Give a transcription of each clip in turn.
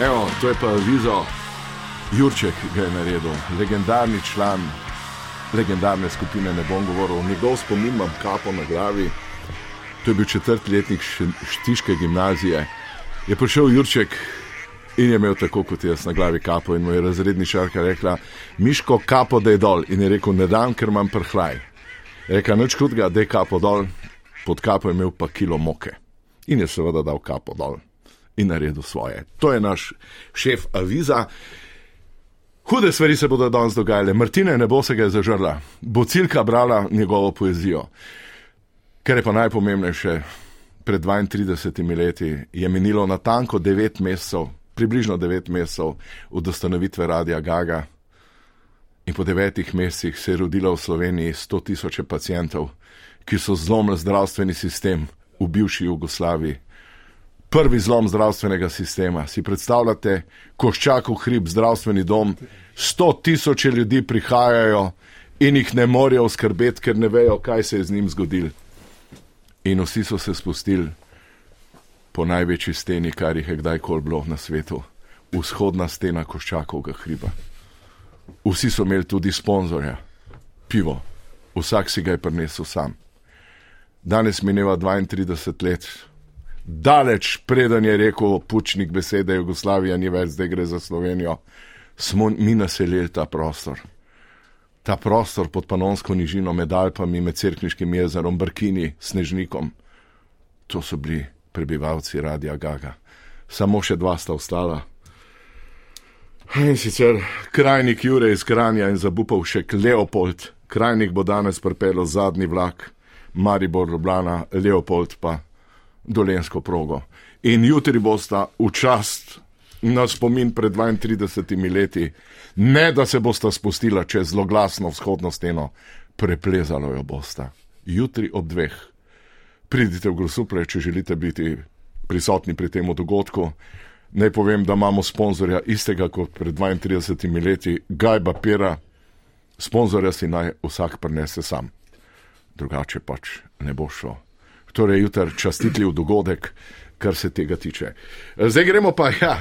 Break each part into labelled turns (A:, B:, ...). A: Evo, to je pa Vizo Jurček, ki je naredil, legendarni član legendarne skupine. Ne bom govoril, njegov spomin imam kapo na glavi. To je bil četrtletnik Štiške gimnazije. Je prišel Jurček in je imel tako kot jaz na glavi kapo. In mu je razredničarka rekla: Miško, kapo da je dol. In je rekel: Ne dam, ker imam prhlaj. Je rekla: Noč krutega, da je kapo dol. Pod kapo je imel pa kilo moke. In je seveda dal kapo dol in naredil svoje. To je naš šef Aviza. Hude stvari se bodo danes dogajale. Martine ne bo se ga zažrla, bo Cilka brala njegovo poezijo. Kar je pa najpomembnejše, pred 32 leti je minilo natanko 9 mesecev, približno 9 mesecev od ustanovitve Radia Gaga. In po devetih mesecih se je rodilo v Sloveniji 100 tisoč pacijentov, ki so zlomili zdravstveni sistem v bivši Jugoslaviji prvi zlom zdravstvenega sistema. Si predstavljate, koščakov hrib, zdravstveni dom, sto tisoče ljudi prihajajo in jih ne morejo oskrbeti, ker ne vejo, kaj se je z njim zgodil. In vsi so se spustili po največji steni, kar jih je kdajkoli bilo na svetu, vzhodna stena koščakovega hriba. Vsi so imeli tudi sponzorja, pivo, vsak si ga je prinesel sam. Danes mineva 32 let, daleč preden je rekel Pučnik besede Jugoslavija ni več, zdaj gre za Slovenijo, smo mi naselili ta prostor. Ta prostor pod Panonsko nižino, med Alpami, med Cerkniškim jezerom, Brkini, Snežnikom. To so bili prebivalci Radia Gaga. Samo še dva sta ostala. In sicer krajnik Jure iz Kranja in zabupal še Leopold. Krajnik bo danes pripeljal zadnji vlak, Maribor Ljubljana, Leopold pa dolensko progo. In jutri bosta v čast na spomin pred 32 leti, ne da se bosta spustila čez zloglasno vzhodno steno, preplezalo jo bosta. Jutri ob dveh. Pridite v Grosupre, če želite biti prisotni pri tem dogodku. Naj povem, da imamo sponzorja istega kot pred 32 leti, Gajba Pera. Sponzorja si naj vsak prenese sam. Drugače pač ne bo šlo torej jutri častitljiv dogodek, kar se tega tiče. Zdaj gremo pa, ja,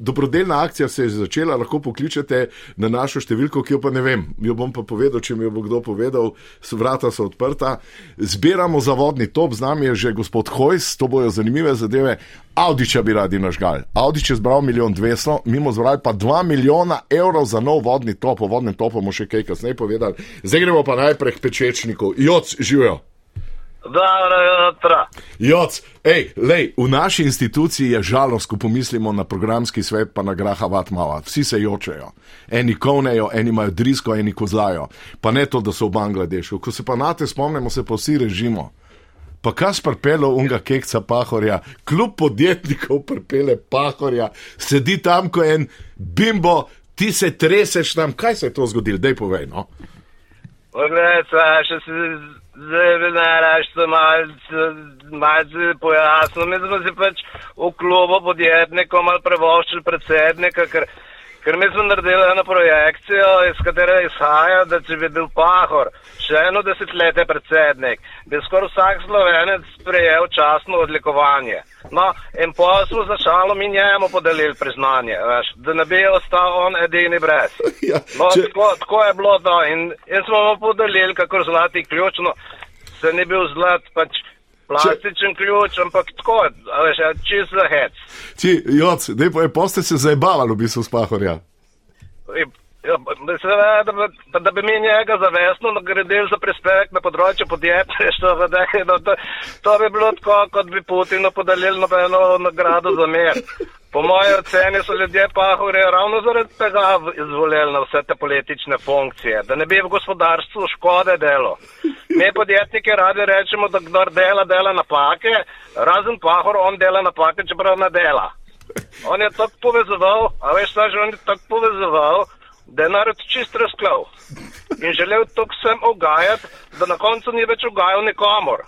A: dobrodelna akcija se je začela, lahko pokličete na našo številko, ki jo pa ne vem, jo bom pa povedal, če mi jo bo kdo povedal, so vrata so odprta. Zbiramo zavodni top, z nami je že gospod Hojs, to bojo zanimive zadeve. Audiča bi radi nažgal. Audič je zbral milijon dvesto, mi smo zbrali pa dva milijona evrov za nov vodni top, o vodnem topu bomo še kaj kasneje povedali. Zdaj gremo pa najprej k pečečniku. Joc, živijo!
B: Dobro jutro.
A: Joc, ej, lej, v naši instituciji je žalost, ko pomislimo na programski svet, pa na graha Vatmava. Vsi se jočejo. Eni kovnejo, eni imajo drisko, eni kozlajo. Pa ne to, da so v Bangladešu. Ko se pa na te spomnimo, se pa vsi režimo. Pa kaj sprpelo unga kekca pahorja, kljub podjetnikov prpele pahorja, sedi tam, ko je en bimbo, ti se treseš tam. Kaj se je to zgodilo? Dej povej, no.
B: Poglej, Saša, si zdaj bi najrašte malce, malce pojasnil. Mi smo si pač v klubu podjetnikov malo prevoščili predsednika, ker, ker mi smo naredili eno projekcijo, iz katere izhaja, da če bi bil Pahor še eno desetletje predsednik, bi skoraj vsak slovenec prejel časno odlikovanje. No, in pa smo začalo mi njemu podelili priznanje, veš, da ne bi ostal on edini brez.
A: Ja,
B: No,
A: če-
B: če... tako, tako je bilo, da. In, in smo mu podelili, kako zlati ključ. No, se ni bil zlat, pač plastičen če... ključ, ampak tako, a veš, a čist za hec.
A: Ti, joc, dej povej, poste se zabavali v bistvu s pahorja.
B: In- ja, pa- Seveda, da, bi- pa da bi mi njega zavestno nagradili za prispevek na področju podjetništva, v Dej- no, to, to bi bilo tako, kot bi Putinu podelili nobeno nagrado za mir. Po moji oceni so ljudje pahorje ravno zaradi tega v- izvolili na vse te politične funkcije, da ne bi v gospodarstvu škode delo. Mi podjetniki radi rečemo, da kdor dela, dela napake, razen pahor, on dela napake, čeprav ne dela. On je tako povezoval, a veš, da že on je tako povezoval, da je narod čist razklav. In želel tok sem ogajati, da na koncu ni več ogajal nikomor.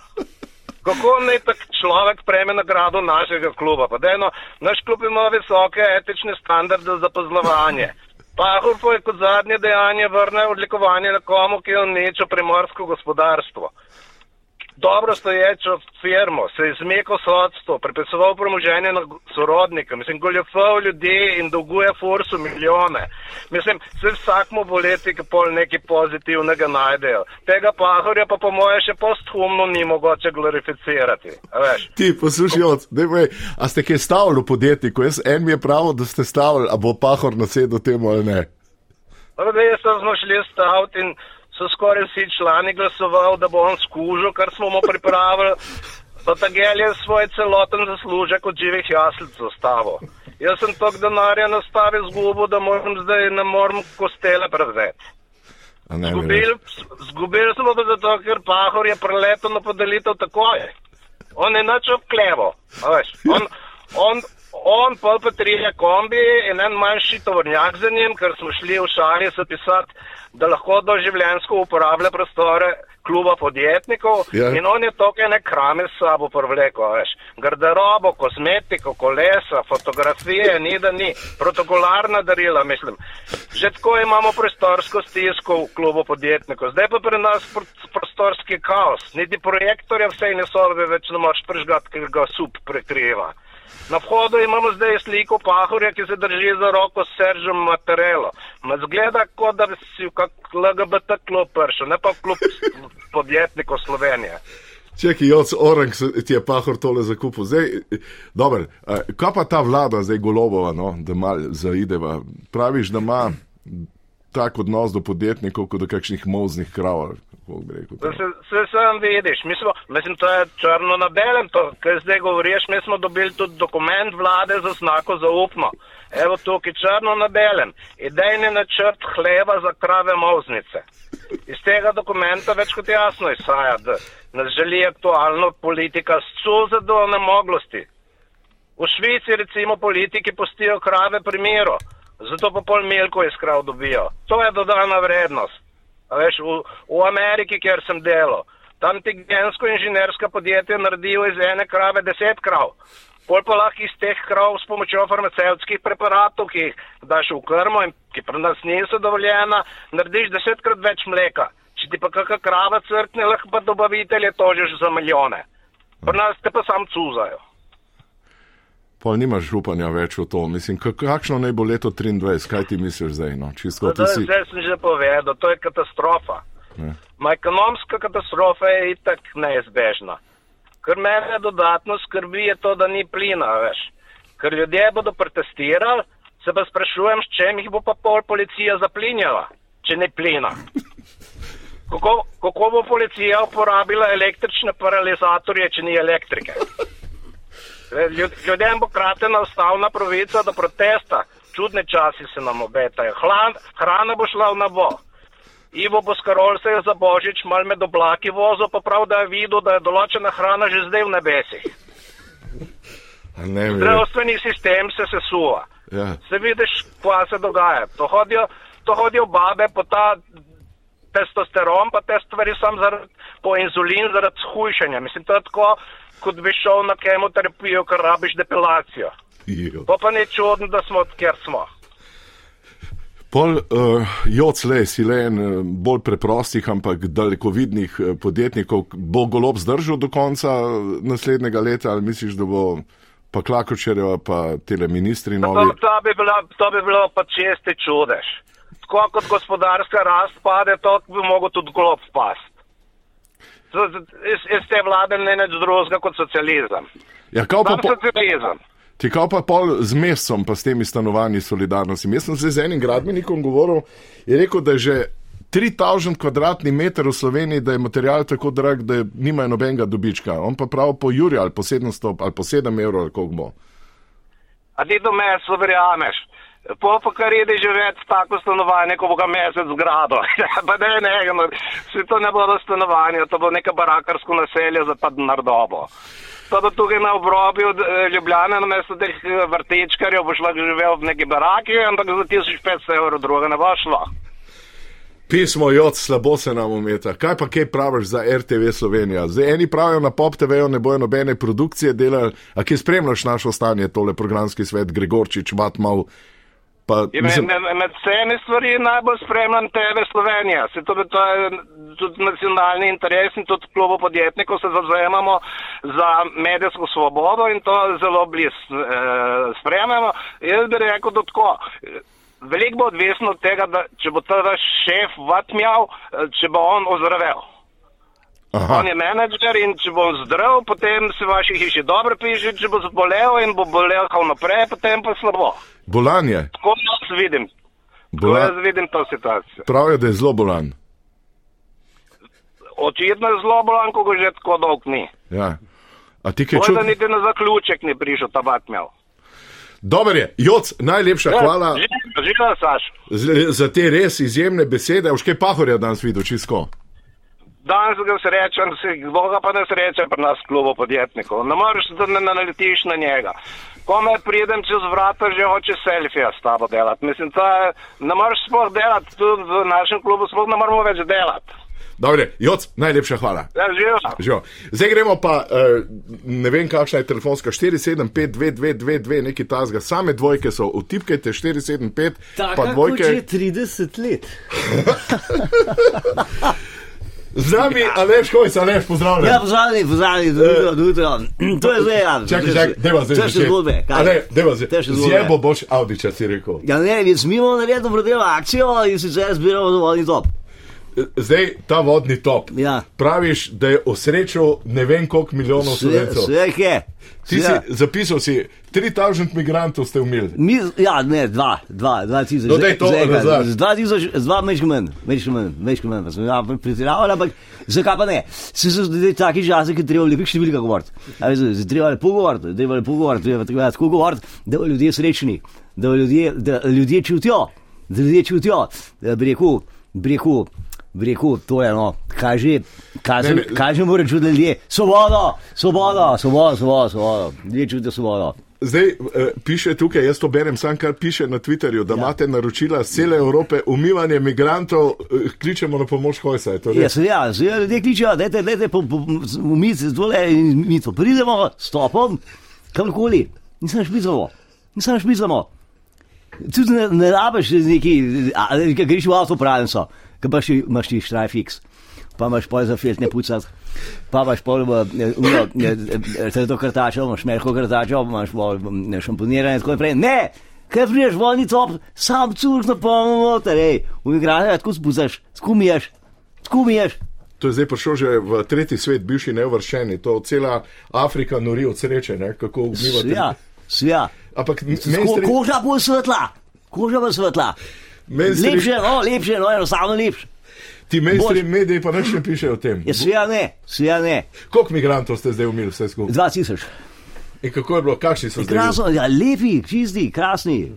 B: Kako naj tak človek prejme nagrado našega kluba? Pa dejno, naš klub ima visoke etične standarde za poznovanje. Pahor pa je kot zadnje dejanje vrnil odlikovanje nekomu, ki je uničil primorsko gospodarstvo. Dobro stoječo firmo, se izmeko sodstvo, prepisoval premoženje na sorodnika, mislim, goljofal ljudi in dolguje Forsu milijone. Mislim, se vsakmo voleti, ki pol nekaj pozitivnega najdejo. Tega pahorja pa po moje še posthumno ni mogoče glorificirati. a Veš?
A: Ti poslušaj, od, daj povej, a ste kje stavili v podjetniku? Jaz en mi je pravil, da ste stavili, a bo pahor nasedel temu ali ne.
B: Tako da jaz sem smo šli staviti in so skoraj vsi člani glasovali, da bo on skužil, kar smo mu pripravili. Da ta gel je svoj celoten zaslužek od živih jaslic zastavil. Jaz sem tok denarja nastavil zgubo, da moram zdaj ne morem kostele prevzeti.
A: A ne, mi reči.
B: Zgubili, zgubili smo pa zato, ker Pahor je preletel na podelitev takoj. On je nič obklevo. a veš. On, on, on pol pa trije kombi in en manjši tovornjak za njim, ker smo šli v šali zapisati, da lahko doživljensko uporablja prostore kluba podjetnikov.
A: Ja.
B: In on je to, kar ne krame s sabo prvleko, a veš. Garderobo, kozmetiko, kolesa, fotografije, ni da ni. Protokolarna darila, mislim. Že tako imamo prostorsko stisko v klubu podjetnikov. Zdaj pa pri nas pr prostorski kaos. Niti projektorja vse ne sobe več ne moreš prižgati, ker ga sup prekriva. Na vhodu imamo zdaj sliko pahorja, ki se drži za roko s Seržem Materelo. Ma zgleda, kot da bi si v kak LGBT klub pršel, ne pa v klub s- podjetnikov Slovenije.
A: Čekaj, Joc Orang se- ti je pahor tole zakupil. Zdaj, dober, kaj pa ta vlada, zdaj golobova, no, da mal zaideva? Praviš, da ima tak odnos do podjetnikov, kot do kakšnih moznih krav. ali kako bi rekel to?
B: Da Se, se sam vidiš, mi smo, mislim, to je črno na belem, to, kar zdaj govoriš, mi smo dobili tudi dokument vlade za znako zaupno. Evo tukaj črno na belem, idejni načrt hleva za krave moznice. Iz tega dokumenta več kot jasno izhaja, da nas želi aktualno politika s cuza do nemoglosti. V Švici recimo politiki pustijo krave pri miru, zato pa pol melko iz krav dobijo. To je dodana vrednost. A Veš, v, v Ameriki, kjer sem delal, tam ti gensko inženirska podjetja naredijo iz ene krave deset krav. Pol pa lahko iz teh krav s pomočjo farmacevtskih preparatov, ki jih daš v krmo in ki pri nas niso dovoljena, narediš desetkrat več mleka. Če ti pa kakšna krava crkne, lahko pa dobavitelje tožiš za milijone. Pri nas te pa sam cuzajo.
A: Pol nimaš upanja več v to. Mislim, kak- kakšno naj bo leto 23, kaj ti misliš zdaj? No? Čisto, ti
B: Zdaj,
A: si...
B: zdaj sem že povedal, to je katastrofa.
A: Ja.
B: Ma ekonomska katastrofa je itak neizbežna. Kar mene dodatno skrbi je to, da ni plina več. Ker ljudje bodo protestirali, se pa sprašujem, s čem jih bo pa pol policija zaplinjala, če ni plina. Kako, kako bo policija uporabila električne paralizatorje, če ni elektrike? Ljud- Ljudem bo kratena ustavna pravica do protesta. Čudne časi se nam obetajo. Hlan, hrana bo šla v nabo. Ivo Boskarol se je za božič mal med oblaki vozil, pa prav, da je videl, da je določena hrana že zdaj v nebesih.
A: A Ne, mi reči.
B: Zdravstveni sistem se sesuva.
A: ja.
B: Se vidiš, kva se dogaja. To hodijo, to hodijo babe po ta testosteron, pa te stvari sam zaradi, po inzulin zaradi shujšanja. Mislim, to je tako, kot bi šel na kemoterapijo, ker rabiš depilacijo.
A: Jo.
B: Pa pa ni čudno, da smo od kjer smo.
A: Pol uh, joc le, si le en eh, bolj preprostih, ampak dalekovidnih eh, podjetnikov. Bo golob zdržal do konca eh, naslednjega leta ali misliš, da bo pa Klakočerjeva, pa tele ministri
B: To,
A: novi?
B: to, bi bila, to bi bilo pa česti čudež. Tako kot gospodarska rast pade, to bi mogel tudi glob past. Z- z- Iz, iz te vlade ne nič drugega kot socializem.
A: Ja, kao
B: Sam
A: pa, po,
B: socializem.
A: ti kao pa pol z mestom, pa s temi stanovanji solidarnosti. Jaz sem se z enim gradbenikom govoril in rekel, da je že 3000 kvadratni meter v Sloveniji, da je material tako drag, da je, nimajo nobenega dobička. On pa prav po Juri ali po 700 ali po 7 evrov, ali koliko bo.
B: A ti do meseca verjameš. Po pa kar ide živeti tako stanovanje, ko bo ga mesec zgrado. pa ne, ne, no, se to ne bodo stanovanja, to bo neka barakarsko naselje za pa nardobo. Tako da tukaj na obrobju eh, Ljubljane, namesto teh eh, vrtečkarjev, boš lahko živel v neki baraki, ampak za 1500 evrov druga ne bo šlo.
A: Pismo jod, slabo se nam umeta. Kaj pa kaj praviš za RTV Slovenija? Zdaj eni pravijo na pop TV-ju ne bojo nobene produkcije delali, a kje spremljaš našo stanje, tole programski svet, Gregorčič, Matmal. Pa,
B: Je
A: mislim,
B: Med, med, med vsemi stvari najbolj spremljam TV Slovenija. Se to, to je tudi nacionalni interes in tudi klubo podjetnikov se zazemamo za medijsko svobodo in to zelo bliz eh, spremljamo. Jaz bi rekel, da tako. Veliko bo odvisno od tega, da če bo ta vaš šef vatmjal, eh, če bo on ozdravel.
A: aha,
B: On je menedžer in če bo zdrav, potem se vaši hiši dobro piše, če bo zbolel in bo bolel kao naprej, potem pa slabo.
A: bolan je.
B: Tako jaz vidim. Tako
A: Bolan,
B: jaz vidim to situacijo.
A: pravijo, da je zelo bolan.
B: Očitno je zelo bolan, ko ga že tako dolg ni.
A: Ja. A ti kaj
B: Tako da
A: čutiš?
B: niti na zaključek ni prišel tabak imel.
A: Dober je, Joc, najlepša
B: Ja.
A: hvala
B: Živa, Saš.
A: z- za te res izjemne besede. A Boš kaj pahorja danes videl, čisto?
B: Danes ga srečam, se, kdo ga pa ne sreče pri nas klubu podjetnikov. Ne moreš, da ne naletiš na njega. Ko me pridem čez vrata, že hoče selfije s tabo delati. Mislim, to je, ne moreš sploh delati, tudi v našem klubu sploh ne moremo več delati.
A: Dobre, Joc, najlepša hvala.
B: Ja, živa.
A: Živo. Zdaj gremo pa, eh, ne vem, kakšna je telefonska 475-2222, neki tasga, same dvojke so, utipkajte 475,
C: Tako
A: pa
C: kot že
A: dvojke.
C: 30 let.
A: Z nami, Aleš Hojs, Aleš, pozdravljen.
C: Ja, pozdravljeni, pozdravljeni, do jutra, do jutra. To je zdaj, ja.
A: Čakaj, čakaj, deva zdaj.
C: Težke
A: začeti.
C: zgodbe. kaj?
A: A Ne, deva zdaj.
C: Težke zgodbe.
A: Zjebo boš Avdiča, si rekel.
C: Ja, ne, jaz mi imamo naredil dobrodelo akcijo in sicer zbiramo dovoljni top.
A: Zdaj ta vodni top.
C: Ja.
A: Praviš, da je osrečil ne vem koliko milijonov slovencev.
C: vse je.
A: Ti si
C: Seveda.
A: zapisal, si 3000 migrantov ste umili.
C: Mi, ja, ne, dva, dva, dva tisoč.
A: No, daj to
C: Zdaj- zdaj-
A: nazaj.
C: z Dva tisoč, z dva mečko manj, mečko manj, mečko manj, pa smo ja, pretiravali, ampak zakaj pa ne? Se so zdaj taki časi, ki je treba v lepih številkah govoriti. A veš, zdaj je Treba je pogovoriti, treba je pogovoriti, treba je tako- tako govoriti, da bodo ljudje srečni, da bodo ljudje, da ljudje čutijo, da ljudje čutijo, da bi rekel, bi rekel, bi rekel, to je no, kaj že, kaj
A: Ne, ne.
C: že, kaj že mora čutiti ljudje, svobodo, svobodo, svobodo, svobodo, svobodo, ljudje čutijo svobodo.
A: Zdaj eh, piše tukaj, jaz to berem, sam kar piše na Twitterju, da ja. imate naročila z cele Evrope umivanje migrantov, eh, kličemo na pomoč Hojsa. je to res?
C: Ja, seveda, seveda ljudje kličejo, da je te umice dole in mi to pridemo s topom, kamkoli, nisem špicamo, nisem špicamo. Tudi ne, ne rabiš neki, ali kaj greš v avto pravim so, kaj pa še imaš ti štrajfiks. Pa imaš pol za filtne pucati, pa imaš pol to krtačo, imaš merko krtačo, imaš pol m, šamponiranje in tako naprej. Ne! Kaj priješ volni top, sam cur na polno noter, ej, v igranje tako spucaš, skumiješ, skumiješ.
A: To je zdaj prišel že v tretji svet, bivši neovršeni, to cela Afrika nori od sreče, ne? kako umivate.
C: Svja, svja.
A: Ampak n-
C: Ko,
A: mainstream,
C: koža bo svetla, koža bo svetla.
A: mainstream,
C: Lepše, no, lepše, no, enostavno lepše.
A: ti mainstream mediji pa nič ne piše o tem.
C: Ja, svja ne, svja ne,
A: Koliko migrantov ste zdaj umili vse skupaj?
C: 2000.
A: In kako je bilo, kakšni so zdaj?
C: Krasno, ja, lepi, čisti, krasni,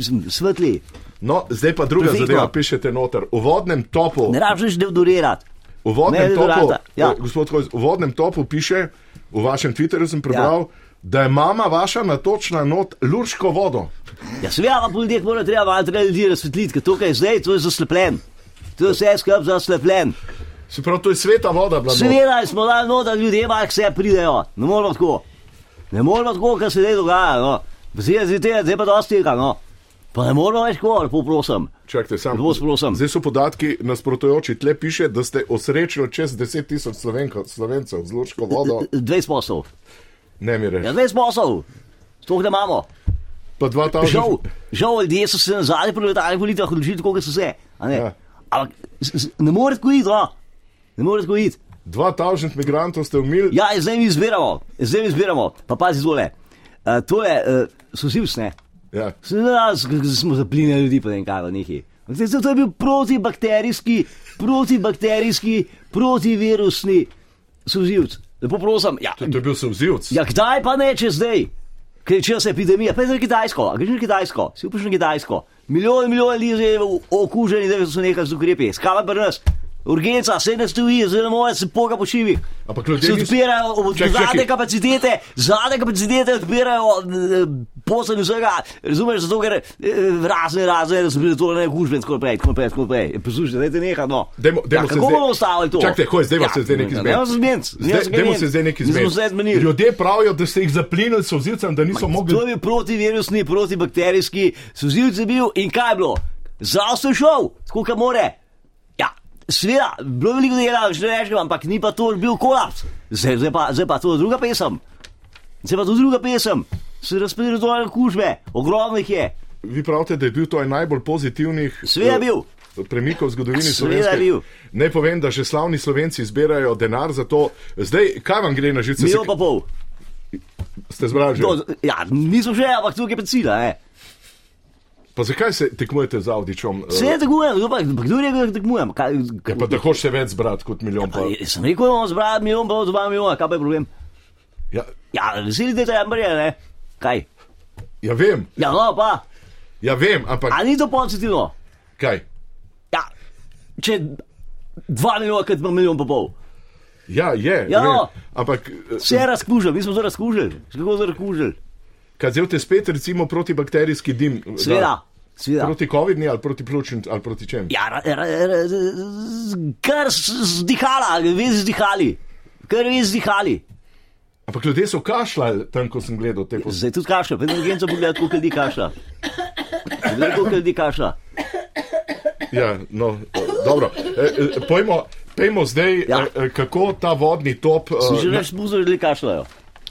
C: mislim, svetli.
A: No, zdaj pa druga
C: Perfektno.
A: zadeva, pišete noter. V vodnem topu.
C: Ne rabiš deodorirati.
A: V vodnem,
C: Ne,
A: topu,
C: deodoranta, ja.
A: eh, gospod Hojs, v vodnem topu piše, v vašem Twitterju sem prebral, ja. da je mama vaša natočna not lurško vodo.
C: Ja, seveda, pa ljudje mora treba malo treba ljudi razsvetliti, ker to, kar je zdaj, to je zaslepljen. To je vse skup zaslepljen.
A: Se pravi, to je sveta voda, bila not.
C: Seveda smo dali no, da ljudje malo k sebi pridejo, ne moramo tako. Ne moramo tako, kar se zdaj dogaja. No. Zdaj, zdaj, zdaj, zdaj pa dosti tega. No. Pa ne moramo več tako, lepo prosim.
A: Čakajte, sam.
C: Lepo vas prosim.
A: Zdaj so podatki nasprotujoči. Tle piše, da ste osrečili čez 10 tisoč Slovenko- slovencev z lurško vodo.
C: 20 poslov.
A: Ne mi
C: Ja, 20
A: reči.
C: poslov. To, kar imamo.
A: Pa 2000.
C: Žal, žal ljudje so se na zadnjih proletarnih volitvah odločili tako, kot so se. a ne.
A: Ja.
C: Ampak z- z- ne more tako iti, no. Ne more tako iti.
A: 2000 migrantov ste umili.
C: Ja, in zdaj mi izbiramo, zdaj mi izbiramo, pa pazi tole. Uh, tole uh, so vsi vsne.
A: Ja.
C: Seveda, z- z- smo zaplinili ljudi, pa ne vem kaj v neki. Zdaj, to je bil protibakterijski, protibakterijski, protivirusni suzivc. Lepo prosim, ja,
A: To je bil sovzivc.
C: ja, kdaj pa ne, če zdaj? Ker je čas epidemija, pa je zdaj Kitajsko, a greš na Kitajsko, si upaš na Kitajsko. Milijon in milijon ljudi je zdaj okuženi, da so nekaj z ukrepi, skala brnes. urgenca, se ne stoji, zelo moja se poga po šivih.
A: Ampak ljudje
C: Se
A: niso-
C: odpirajo od-
A: Čakaj, čakaj.
C: zadnje kapacitete, zadnje kapacitete odpirajo eh, posel vsega. Razumeš, zato ker eh, razne, razne respiratorne okužbe in tako naprej, tako naprej, tako naprej. E, Poslušaj, dajte neha, no.
A: Dajmo- dajmo
C: ja,
A: se
C: kako
A: zdaj-
C: bomo Ja, ustavili to?
A: Čakajte, hoj, zdaj bomo se zdaj nekaj zmenili.
C: Dajmo se zmeniti.
A: Zdaj, dajmo se zdaj nekaj
C: Nismo se
A: zmeniti.
C: zmenili.
A: Ljudje pravijo, da ste jih zaplinili s ozircem, da niso mogli.
C: To je bil protivirusni, protibakterijski, suzilce bil in kaj je bilo? Zdravstvo je šel, tako kot more. Ja, sveda, bilo je veliko dela, že ne rečem, ampak ni pa to bil kolaps. Zdaj, zdaj, pa, zdaj pa to druga pesem. Zdaj pa to druga pesem. Se razpredelijo dolje kužbe, ogromno jih je.
A: Vi pravite, da je bil to en najbolj pozitivnih
C: Seveda je bil.
A: eh, premikov v zgodovini
C: Seveda je
A: Slovenije.
C: bil.
A: Ne povem, da že slavni Slovenci zbirajo denar za to. Zdaj, kaj vam gre na živce?
C: Milijon pa pol.
A: Ste zbrali že?
C: To, ja, nismo že, ampak tukaj je pecila. Eh.
A: Pa zakaj se tekmujete z Avdičom? eh,
C: Vse je tekmujem, kdo pa- pa kdo je rekel, da tekmujem? Kaj,
A: Pa da hočeš še več zbrati kot milijon. Pa.
C: Ja, sem rekel, da bomo zbrali milijon, pa dva milijona, kaj pa je problem?
A: Ja,
C: Ja, veseli decembrja, ne? Kaj?
A: ja, vem,
C: Ja, no pa,
A: ja, vem, ampak
C: ali ni to pozitivno?
A: kaj?
C: Ja, če dva milijona, kot pa milijon pa pol.
A: Ja, je.
C: Ja,
A: vem,
C: no.
A: Ampak eh,
C: Vse je razkužil, mi smo to razkužili, Še kako so razkužili.
A: Kaj vzete spet, recimo, protibakterijski dim?
C: Sveda,
A: Da,
C: sveda.
A: proti COVID-ni ali proti pljučnim ali proti čem?
C: Ja, ra, ra, ra, z- kar zdihala, veš zdihali, kar veš zdihali.
A: Ampak ljudje so kašljali tam, ko sem gledal te posnetke.
C: Zdaj tudi kaša, pridem genco pogledati, koliko ljudi kaša. Zdaj koliko ljudi kaša.
A: Ja, no, eh, dobro. E, e, pojmo, pejmo zdaj, ja.
C: Ja.
A: e, kako ta vodni top.
C: Sem
A: eh,
C: že
A: na-
C: več buzov, že kašljajo.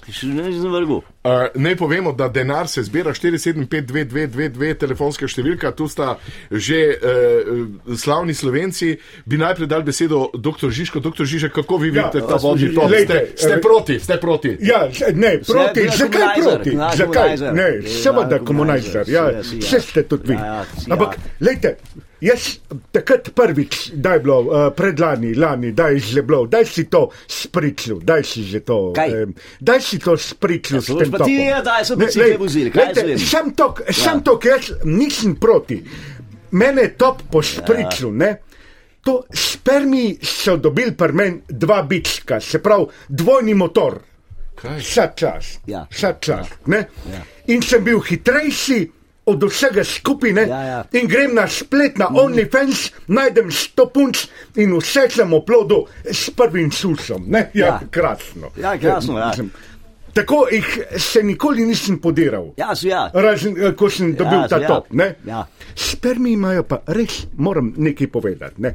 C: Še ne znam vrgu.
A: Uh, ne povemo, da denar se zbira 475-2222, telefonska številka, tu sta že uh, slavni slovenci. Bi najprej dal besedo dr. Žižko. Dr. Žižek, kako vi
D: Ja,
A: vidite ta vodni
C: Žižek.
A: top? Ste,
D: Glejte,
A: ste
D: eh,
A: proti, ste proti.
D: Ja, z- ne, proti,
C: bila
D: zakaj
C: komunajzer,
D: proti?
C: bila
D: Zakaj?
C: komunajzer.
D: Ne,
C: Bila
D: seveda
C: komunajzer,
D: komunajzer, ja,
C: seveda si, ja.
D: vse ste tudi vi.
C: Ja, ja, si, ja.
D: Ampak, lejte, jaz takrat prvič, da je bilo, eh, predlani, lani, da je zleblo, daj si to spriclu, daj si že to.
C: Kaj?
D: eh, Daj si to spriclu.
C: Ja,
D: s
C: se boš
D: tem
C: pa ti
D: topom.
C: ja, daj so
D: Ne,
C: bicikle
D: lej,
C: vozili, kaj
D: lejte,
C: jaz vem.
D: Sam tok, sam tok, jaz nisem proti. Mene je top po špriclu, ne? To spermi so dobili pri meni dva bička, se pravi dvojni motor.
A: Kaj?
D: Vsa čas.
C: Ja.
D: Vsa čas ja. In sem bil hitrejši od vsega skupine.
C: Ja, ja. Mhm.
D: In grem na splet, na OnlyFans, najdem 100 punc in vse sem oplodil s prvim susom. Ne?
C: Ja.
D: Ja, ja, krasno.
C: Ja, krasno, ja.
D: Mislim, Tako jih se nikoli nisem podiral.
C: Ja, so ja.
D: Razen, eh, ko sem
C: Ja,
D: dobil ja, ta
C: ja.
D: ja. top. Ne?
C: Ja.
D: Spermi imajo pa res, moram nekaj povedati. Ne?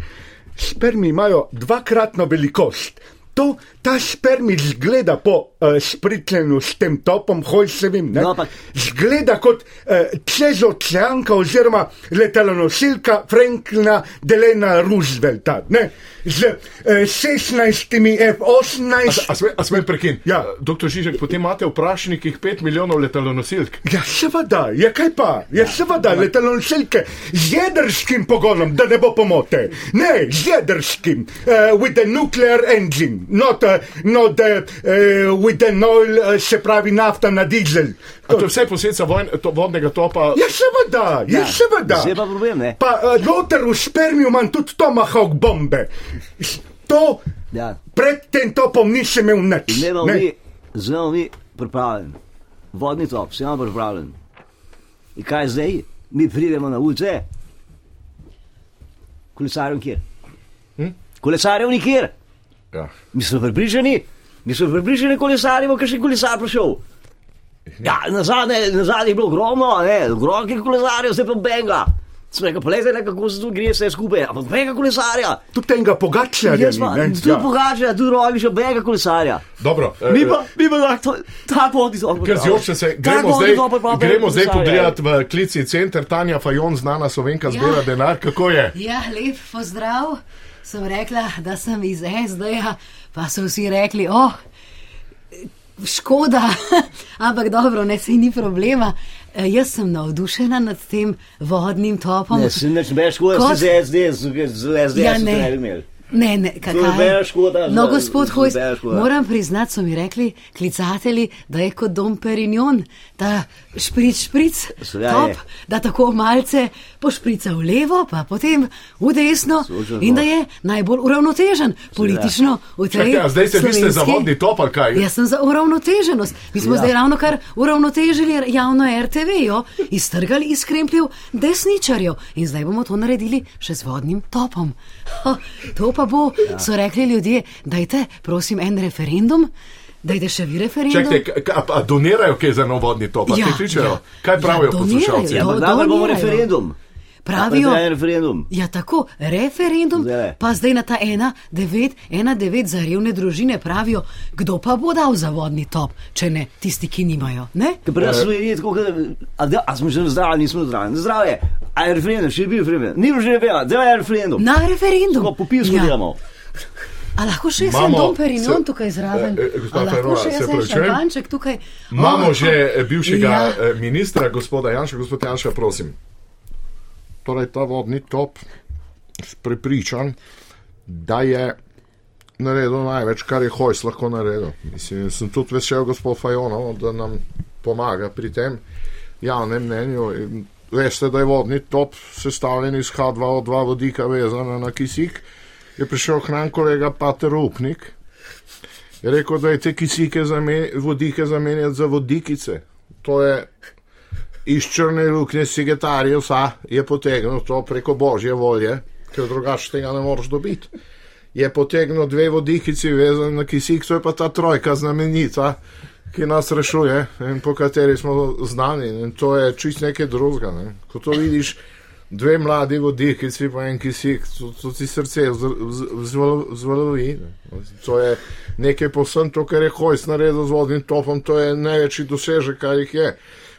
D: Spermi imajo dvakratno velikost. To, ta spermi zgleda po uh, spritljenju s tem topom, hojsevim.
C: No, ampak-
D: Zgleda kot uh, čezoceanka oziroma letalonosilka Franklina Delena Roosevelta. Ne? Z uh, 16 F-18.
A: A smem, a smem prekiniti?
D: Ja.
A: Doktor Žižek, potem imate v prašnikih 5 milijonov letalonosilk.
D: Ja, seveda, ja, kaj pa, ja, seveda, letalonosilke z jedrskim pogonom, da ne bo pomote. Ne, z jedrskim, uh, with the nuclear engine, not, uh, not the, uh, with the oil, uh, se pravi nafta na dizel.
A: A to je vse posledica vojn, to, vodnega topa.
D: Ja, seveda,
C: Ja,
D: ja, seveda.
C: zdaj pa problem, ne?
D: Pa uh, noter v spermiju imam tudi tomahawk bombe. To
C: Ja.
D: pred tem topom nisem imel nič.
C: Zelo
D: ne.
C: mi, zelo mi pripravljen, vodni top, sem pripravljen. In kaj zdaj, mi pridemo na ulice, kolesarjev nikjer. Hm? Kolesarjev nikjer,
A: Ja.
C: mi smo pripričani, mi smo pripričani kolesarjev, ker še kolesar prišel. Ja, na zadnje, na zadnje je bilo ogromno, a ne, ogromno je kolesarjev, zdaj pa benga. Smo rekli, poglejte, le, kako se tu gre vse skupaj, ampak benga kolesarja.
D: Tudi tega pogačja,
C: Jaz pa, tu ja. pogača, tu rogiš, benga kolesarja.
A: Dobro, eh,
C: Mi pa, mi pa tak, to, ta pot iz Ormoža.
A: Ker zjoče se, gremo zdaj, gremo zdaj pogledati v klici center. Tanja Fajon, znana slovenka,
E: Ja.
A: zbira denar. Kako je?
E: Ja, lep pozdrav. Sem rekla, da sem iz SD-ja, pa so vsi rekli, oh, škoda, ampak dobro, ne se ni problema. Eh, Jaz sem navdušena nad tem vodnim topom.
C: Ne, si neč veš, kako
E: Kot-
C: si zdaj, zdaj, zdaj, zdaj, zdaj,
E: Ja, ne.
C: zdaj,
E: Ne, ne, kakaj.
C: nobena škoda
E: No,
C: za-
E: gospod
C: za
E: Hojs,
C: nobena škoda.
E: moram priznati, so mi rekli klicatelji, da je kot Dom Perignon, ta špric, špric,
C: Seveda
E: top,
C: je.
E: da tako malce pošprica v levo, pa potem v desno
C: Služeno.
E: in da je najbolj uravnotežen politično v tej.
A: Čakaj, a zdaj se vi ste
E: slovenski-
A: za vodni top ali kaj?
E: Jaz sem za uravnoteženost. Mi smo
C: Ja.
E: ja. zdaj ravno kar uravnotežili javno RTV, jo, iztrgali iz krempljev desničarjev in zdaj bomo to naredili še z vodnim topom. Ha, to pa bo, ja. so rekli ljudje, dajte, prosim, en referendum, dajte še vi referendum.
A: Čakajte, k- k- a, a donirajo kaj za nov vodni top? Ja,
E: Ja,
A: ti kličejo?
E: ja.
A: Ja, kaj pravijo
E: Ja,
A: ja,
E: donirajo,
A: poslušalci?
E: ja.
A: Ja.
C: Ja, pa da bomo
E: donirajo.
C: referendum.
E: Pravijo.
C: Ja, referendum.
E: Ja, tako, referendum,
C: Zdajle.
E: pa zdaj na ta ena, devet, ena, devet za revne družine pravijo, kdo pa bo dal za vodni top, če ne tisti, ki nimajo. Ne?
C: Ker pri nas smo jedli tako, kot a, da- a smo že zdravi, nismo zdravi. Zdravje, a je referendum, še je bil referendum. Ni bilo že referendum, zdaj je referendum.
E: Na referendum.
C: Tako po pismu
E: Ja.
C: delamo.
E: A lahko še jaz en
A: Imamo-
E: dom Perignon
A: se-
E: tukaj zraven?
A: Eh, eh, gospa
E: A lahko
A: Ferrova,
E: še
A: se
E: jaz en
A: opravičujem.
E: šampanček tukaj?
A: Imamo
E: Oh,
A: že eh, bivšega
E: Ja.
A: ja. ministra, gospoda Janša, gospod Janša, prosim.
F: torej ta vodni top prepričan, da je naredil največ, kar je Hojs lahko naredil. Mislim, jaz sem tudi vesel, gospod Fajonov, da nam pomaga pri tem javnem mnenju. In Veste, da je vodni top sestavljen iz H2O2 vodika vezana na kisik. Je prišel k nam kolega Pater Upnik, je rekel, da je te kisike zame, vodike zamenjati za vodikice. To je iz črne luknje sekretarja je potegnil to preko božje volje, ker drugače tega ne moreš dobiti. Je potegnil dve vodikici vezani na kisik, to je pa ta trojka znamenita, ki nas rešuje in po kateri smo znani. In to je čist nekaj drugega. Ne. Ko to vidiš, dve mladi vodikici pa en kisik, to, to ti srce vzvalovi. To je nekaj posebno, to, kar je Hojs naredil z vodnim topom, to je največji dosežek, kar jih je.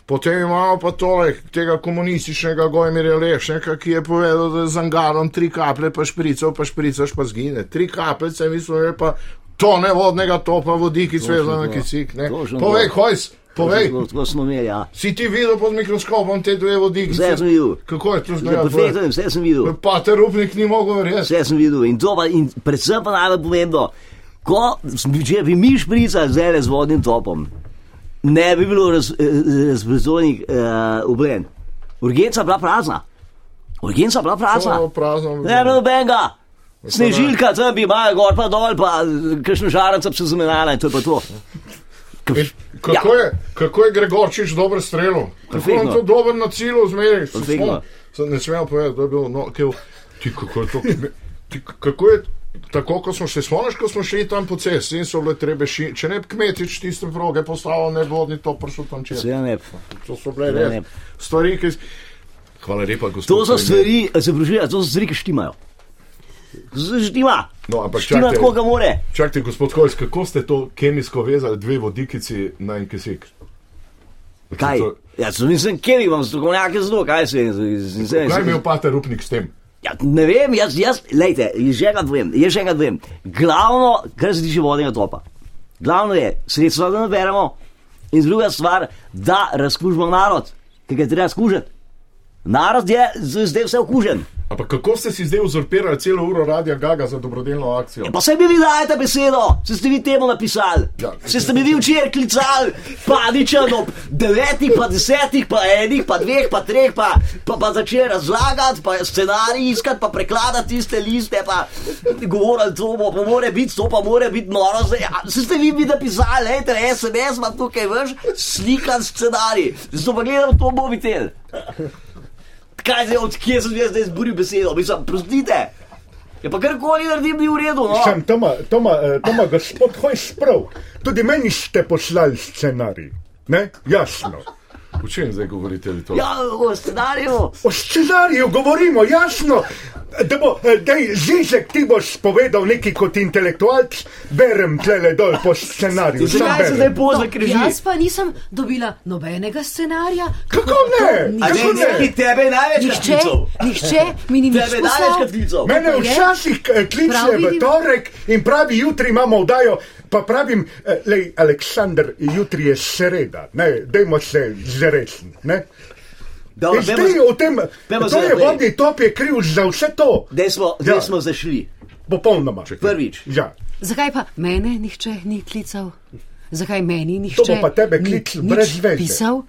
F: Potem imamo pa tole, tega komunističnega Gojmirja Lešnika, ki je povedal, da je z angarom tri kaplje, pa šprico, pa špricaš, pa zgine. Tri kapljice, mi smo rekli pa tone vodnega topa, vodik iz vezana
C: to.
F: kisik. Ne?
C: Točno to.
F: Povej, hojs, povej.
C: Tako, tako smo imeli, ja.
F: Si ti videl pod mikroskopom te dve vodiki?
C: Vse sem videl.
F: Kako je to
C: Ja,
F: zdaj?
C: Perfektno, vse sem videl.
F: Pa te rupnik ni mogel verjeti.
C: Vse sem videl in to pa, in predvsem pa najbolj pomembno, ko, sm- če bi mi špricali zdaj le z vodnim topom, ne bi bilo raz, eh, razbrzonih eh, oblen. Urgenca je bila prazna. Urgenca je bila prazna.
F: To prazno bi
C: Ne,
F: bilo.
C: nobenega. Snežilka tam bi imala gor pa dol, pa eh, kakšno žarnico bi se zamenjala in to je pa to. K-
F: In Kako, ja. je, kako je Gregorčič dober strelil? Kako je on
C: Perfektno.
F: to dober na cilju, zmeraj. Se
C: Perfektno.
F: spomnim. Se Ne smem povedati, da je bilo no, kaj, ti, kako je to. Ti, kako je, tako kot smo šli, spomniš, ko smo šli tam po cesti in so bile trebe ši, če ne bi kmetič tiste proge postavil, ne bi vodni to prišel tam čez.
C: Seveda ne.
F: To so bile
C: Seveda ne.
F: res stvari, ki.
A: Hvala lepa, gospod.
C: To so
A: premier.
C: stvari, a se pravi, to so stvari, ki štimajo. To so Štima.
A: No, ampak
C: štima
A: čakajte.
C: tako, ga more.
A: Čakajte, gospod Hojs, kako ste to kemijsko vezali, dve vodikici na en kisik?
C: Kaj?
A: To-
C: Jaz sem nisem kjer, imam strokovnjake zelo, kaj se je.
A: Kaj je imel pater Rupnik s tem?
C: Ja, ne vem, jaz, jaz, lejte, že enkrat vem, jaz še enkrat vem. Glavno, kar se tiče vodnega topa, glavno je sredstva, da naberemo in druga stvar, da razkužimo narod, ki ga je treba skužiti. Narod je z- zdaj vse okužen.
A: Ampak kako ste si zdaj uzurpirali celo uro radia Gaga za dobrodelno akcijo?
C: Ja, Pa se mi vi dajete besedo, se ste vi temu napisali.
A: Ja.
C: Se ste mi vi včeraj klicali, paničen ob devetih, pa desetih, pa enih, pa dveh, pa treh, pa, pa, pa začeli razlagati, pa scenarij iskati, pa prekladati tiste liste, pa govorili, to bo, pa more biti, to pa more biti noro. Zdaj, a Se ste vi mi napisali, hejte, SMS ima tukaj veš, slikan scenarij, zato pa gledam to mobitel. Kaj zdaj, odkje sem jaz zdaj zburil besedo, mislim, prostite. Je pa karkoli naredim, ni v redu. No?
D: Sam, to ima- to ima, eh, to ima gospod Hojs prav. Tudi meni ste poslali scenarij. Ne? Jasno.
A: O čem zdaj govorite? vi to?
C: Ja, o scenariju.
D: O scenariju govorimo, jasno. Da bo, da je Zizek ti boš povedal nekaj kot intelektualc, berem tlele dol po scenariju. sam
C: Zakaj se
D: berem.
C: zdaj pozna
E: No,
C: križi?
E: Jaz pa nisem dobila nobenega scenarija.
D: Kako ne?
E: To
D: A
E: nihče-
D: ne, ne, ki
C: tebe največ
E: Nihče, nihče mi ni nič
C: Tebe največ
E: poslal.
C: klical.
D: Mene
E: Tako je.
D: včasih eh, kliče
E: Prav
D: v
E: vidim.
D: torek in pravi, jutri imamo vdajo, pa pravim, eh, lej, Aleksandr, jutri je sreda, ne, dajmo se zresni. Ne? In zdaj v tem,
C: Dajmo
D: to
C: se
D: je
C: naprej.
D: vodni top, je kriv za vse to.
C: Zdaj smo,
D: Ja.
C: ja. smo zašli.
D: popolnoma.
C: Prvič.
D: Ja.
E: Zakaj pa mene nihče ni klical? Zakaj meni nihče
D: To bo pa tebe klical
E: ni
D: brez
E: nič
D: veze.
E: pisal?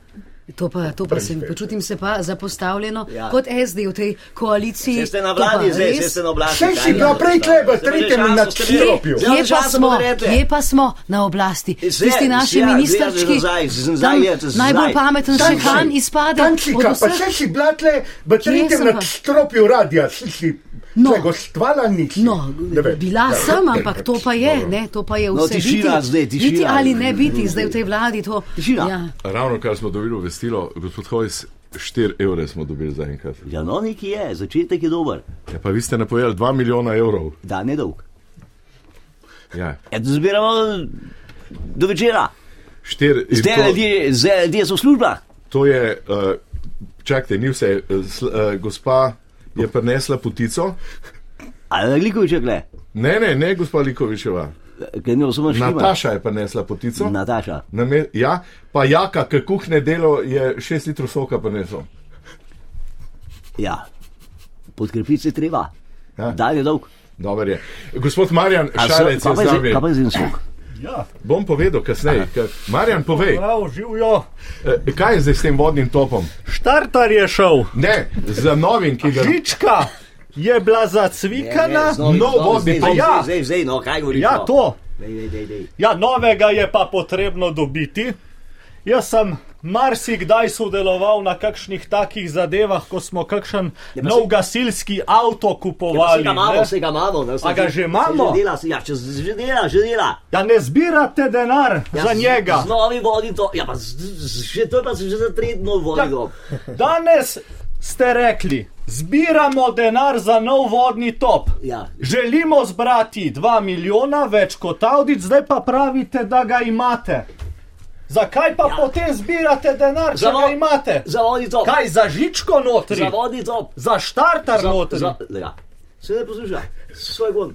E: To pa, to pa
D: Brez
E: sem,
D: veze.
E: počutim se pa zapostavljeno
C: Ja.
E: ja. kot SD v tej koaliciji.
C: Saj ste na
E: To pa
C: vladi zdaj,
E: res-
C: saj ste na oblasti.
D: Sej si
C: kaj
D: bila
C: je?
D: prej tle v
C: Zdaj pa že
D: tretjem
C: šanso ste
D: nadstropju.
C: imeli.
D: Kje-
C: Zdaj
E: Kje
C: pa
E: pa,
C: šanso
E: smo,
C: bomo rekli.
E: kje pa smo na oblasti?
C: Zdaj,
E: Tisti naši
C: zdaj, zdaj,
E: ministrčki,
C: zdaj, zdaj,
E: tam
C: zdaj je, zdaj.
E: najbolj pameten še
D: Tančika,
E: Han izpade.
D: Tančika,
E: od
D: pa
E: vseh.
D: sej si bila tle v tretjem
E: sem pa?
D: nadstropju radia, si si
E: No.
D: no. gostovala nisi.
E: No,
D: Ne vem.
E: bila
D: Ja.
E: sem, ampak to pa je, ne, to pa je
C: No,
E: vse.
C: tišina
E: biti,
C: zdaj, tišina.
E: Biti ali ne biti zdaj v tej vladi, to
C: Tišina.
E: Ja.
A: Ravno kar smo dobili vestilo, gospod Hojs, 4 evre smo dobili za enkrat.
C: Ja, no, neki je, začetek je dober,
A: Ja, pa vi ste napovedali 2 milijona evrov.
C: dan je dolg.
A: Ja,
C: Eto, zbiramo do večera,
A: 4
C: zdaj ljudje, zdaj ljudje so v službah.
A: To je, uh, čakajte, ni vse. Uh, sl, uh, gospa je prinesla potico.
C: Ali Glikovič je kle,
A: Ne, ne, ne, gospa Likovičeva.
C: ker ne osem štima.
A: Nataša je prinesla potico.
C: Nataša.
A: Name, ja, pa jaka, ki kuhne delo, je 6 litrov soka prinesel.
C: Ja, podkrepiti se treba.
A: Ja.
C: Dan je dolg.
A: Dober je. Gospod Marjan,
C: A so-
A: šalec
C: kaj pa
A: je z
C: je
A: nami.
C: zdaj- kaj pa je zdaj sok?
G: Ja,
A: Bom povedal kasneje. ker- Marjan, povej,
G: prav živijo.
A: eh, kaj je zdaj s tem vodnim topom?
G: Štartar je šel,
A: Ne, za novim, ki ga
G: žička je bila zacvikana.
A: nov vodni
C: zdaj,
A: top.
C: zdaj,
G: Ja.
C: zdaj, zdaj, no, kaj govoriš?
G: Ja,
C: no?
G: to.
C: Dej, dej, dej, dej.
G: Ja, novega je pa potrebno dobiti. Jaz sem marsikdaj sodeloval na kakšnih takih zadevah, ko smo kakšen
C: Ja, pa
G: nov
C: se-
G: gasilski avto
C: Ja, pa
G: kupovali.
C: Vse ga imamo,
G: ne.
C: vse ga imamo. ne, vse
G: A ga že imamo?
C: se Že dela, se- ja, če se že dela, že dela.
G: Ja, ne zbirate denar
C: Ja,
G: za
C: z-
G: njega.
C: Z novim vodim to, ja pa z, z, že to je pa se že za tretno vodim.
G: Ja. Danes ste rekli, zbiramo denar za nov vodni top.
C: Ja.
G: Želimo zbrati 2 milijona več kot Audit, zdaj pa pravite, da ga imate. Zakaj pa ja. potem zbirate denar, če
C: Za vo-
G: ga imate?
C: Za vodim to.
G: Kaj za žičko notri?
C: Za vodim to.
G: Za štartar notri.
C: Za, ja. Se ne posluša, svoj gon.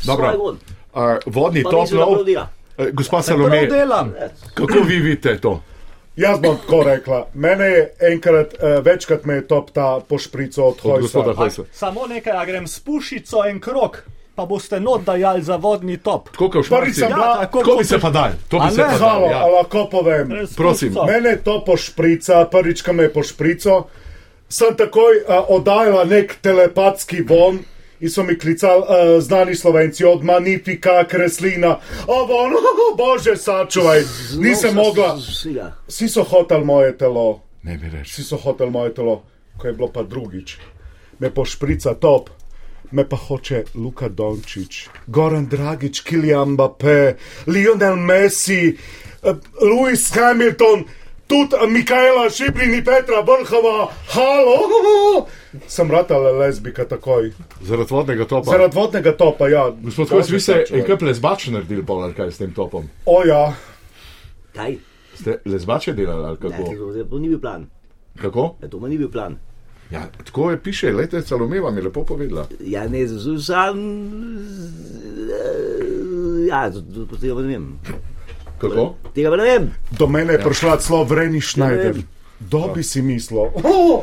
C: Svoj
A: Dobro,
C: gon.
A: uh, vodni
C: Pa
A: top
C: mislim, da
A: nov.
C: aplaudira.
A: Eh, Gospa
G: Prav
A: Salome,
G: delam.
A: kako vi vidite to?
D: Jaz bom tako rekla. Mene je enkrat, eh, večkrat me je top ta pošprico od
A: Od gospoda
D: Hojsa.
A: Hojsa.
G: Samo nekaj, a grem s pušico en krok, pa boste not dajali za vodni top.
A: Koliko je
D: Prvič sem
A: šmarci?
D: bila-
G: Ja, tako
A: Tako bi
G: kot-
A: se pa dal. To
G: A
A: bi se
G: ne?
A: pa dal.
D: Zalo,
A: Ja.
D: a lahko povem.
G: Res
A: Prosim.
G: puščico.
D: Mene to pošprica, prvič, ko me je pošprico, sem takoj uh, oddajala nek telepatski von. In so mi klicali uh, znani slovenci, od Manifika, Kreslina, o von, oh, bože, sačuvaj, nisem
C: No,
D: mogla.
C: s- s- vsega.
D: Vsi so hoteli moje telo,
A: Ne mi reči.
D: vsi so hoteli moje telo, ko je bilo pa drugič. Me pošprica top, me pa hoče Luka Dončić, Goran Dragič, Kilian Mbappé, Lionel Messi, eh, Lewis Hamilton, tudi Mikaela Šibrin in Petra Brhova, halo! Sem ratala lezbika takoj.
A: Zaradi vodnega topa.
D: Zaradi vodnega topa, ja.
A: Gospod Hojs, vi ste
D: Bože,
A: enkrat lezbače naredili, pol ali kaj s tem topom?
D: O ja,
C: Kaj?
A: Ste lezbače delali ali
C: Ne,
A: kako?
C: to- to ni bil plan.
A: kako?
C: Ja, To mi ni bil plan.
A: Ja, tako je piše, lejte, Salomeva mi je lepo povedala.
C: Ja, ne, z- sam. eh, Ja, z- z- tega pa ne vem.
A: Kako?
C: Tega pa ne vem.
D: do mene je
A: Ja.
D: prišla celo Vreni Schneider.
C: vem.
D: Dobi si mislil, oh,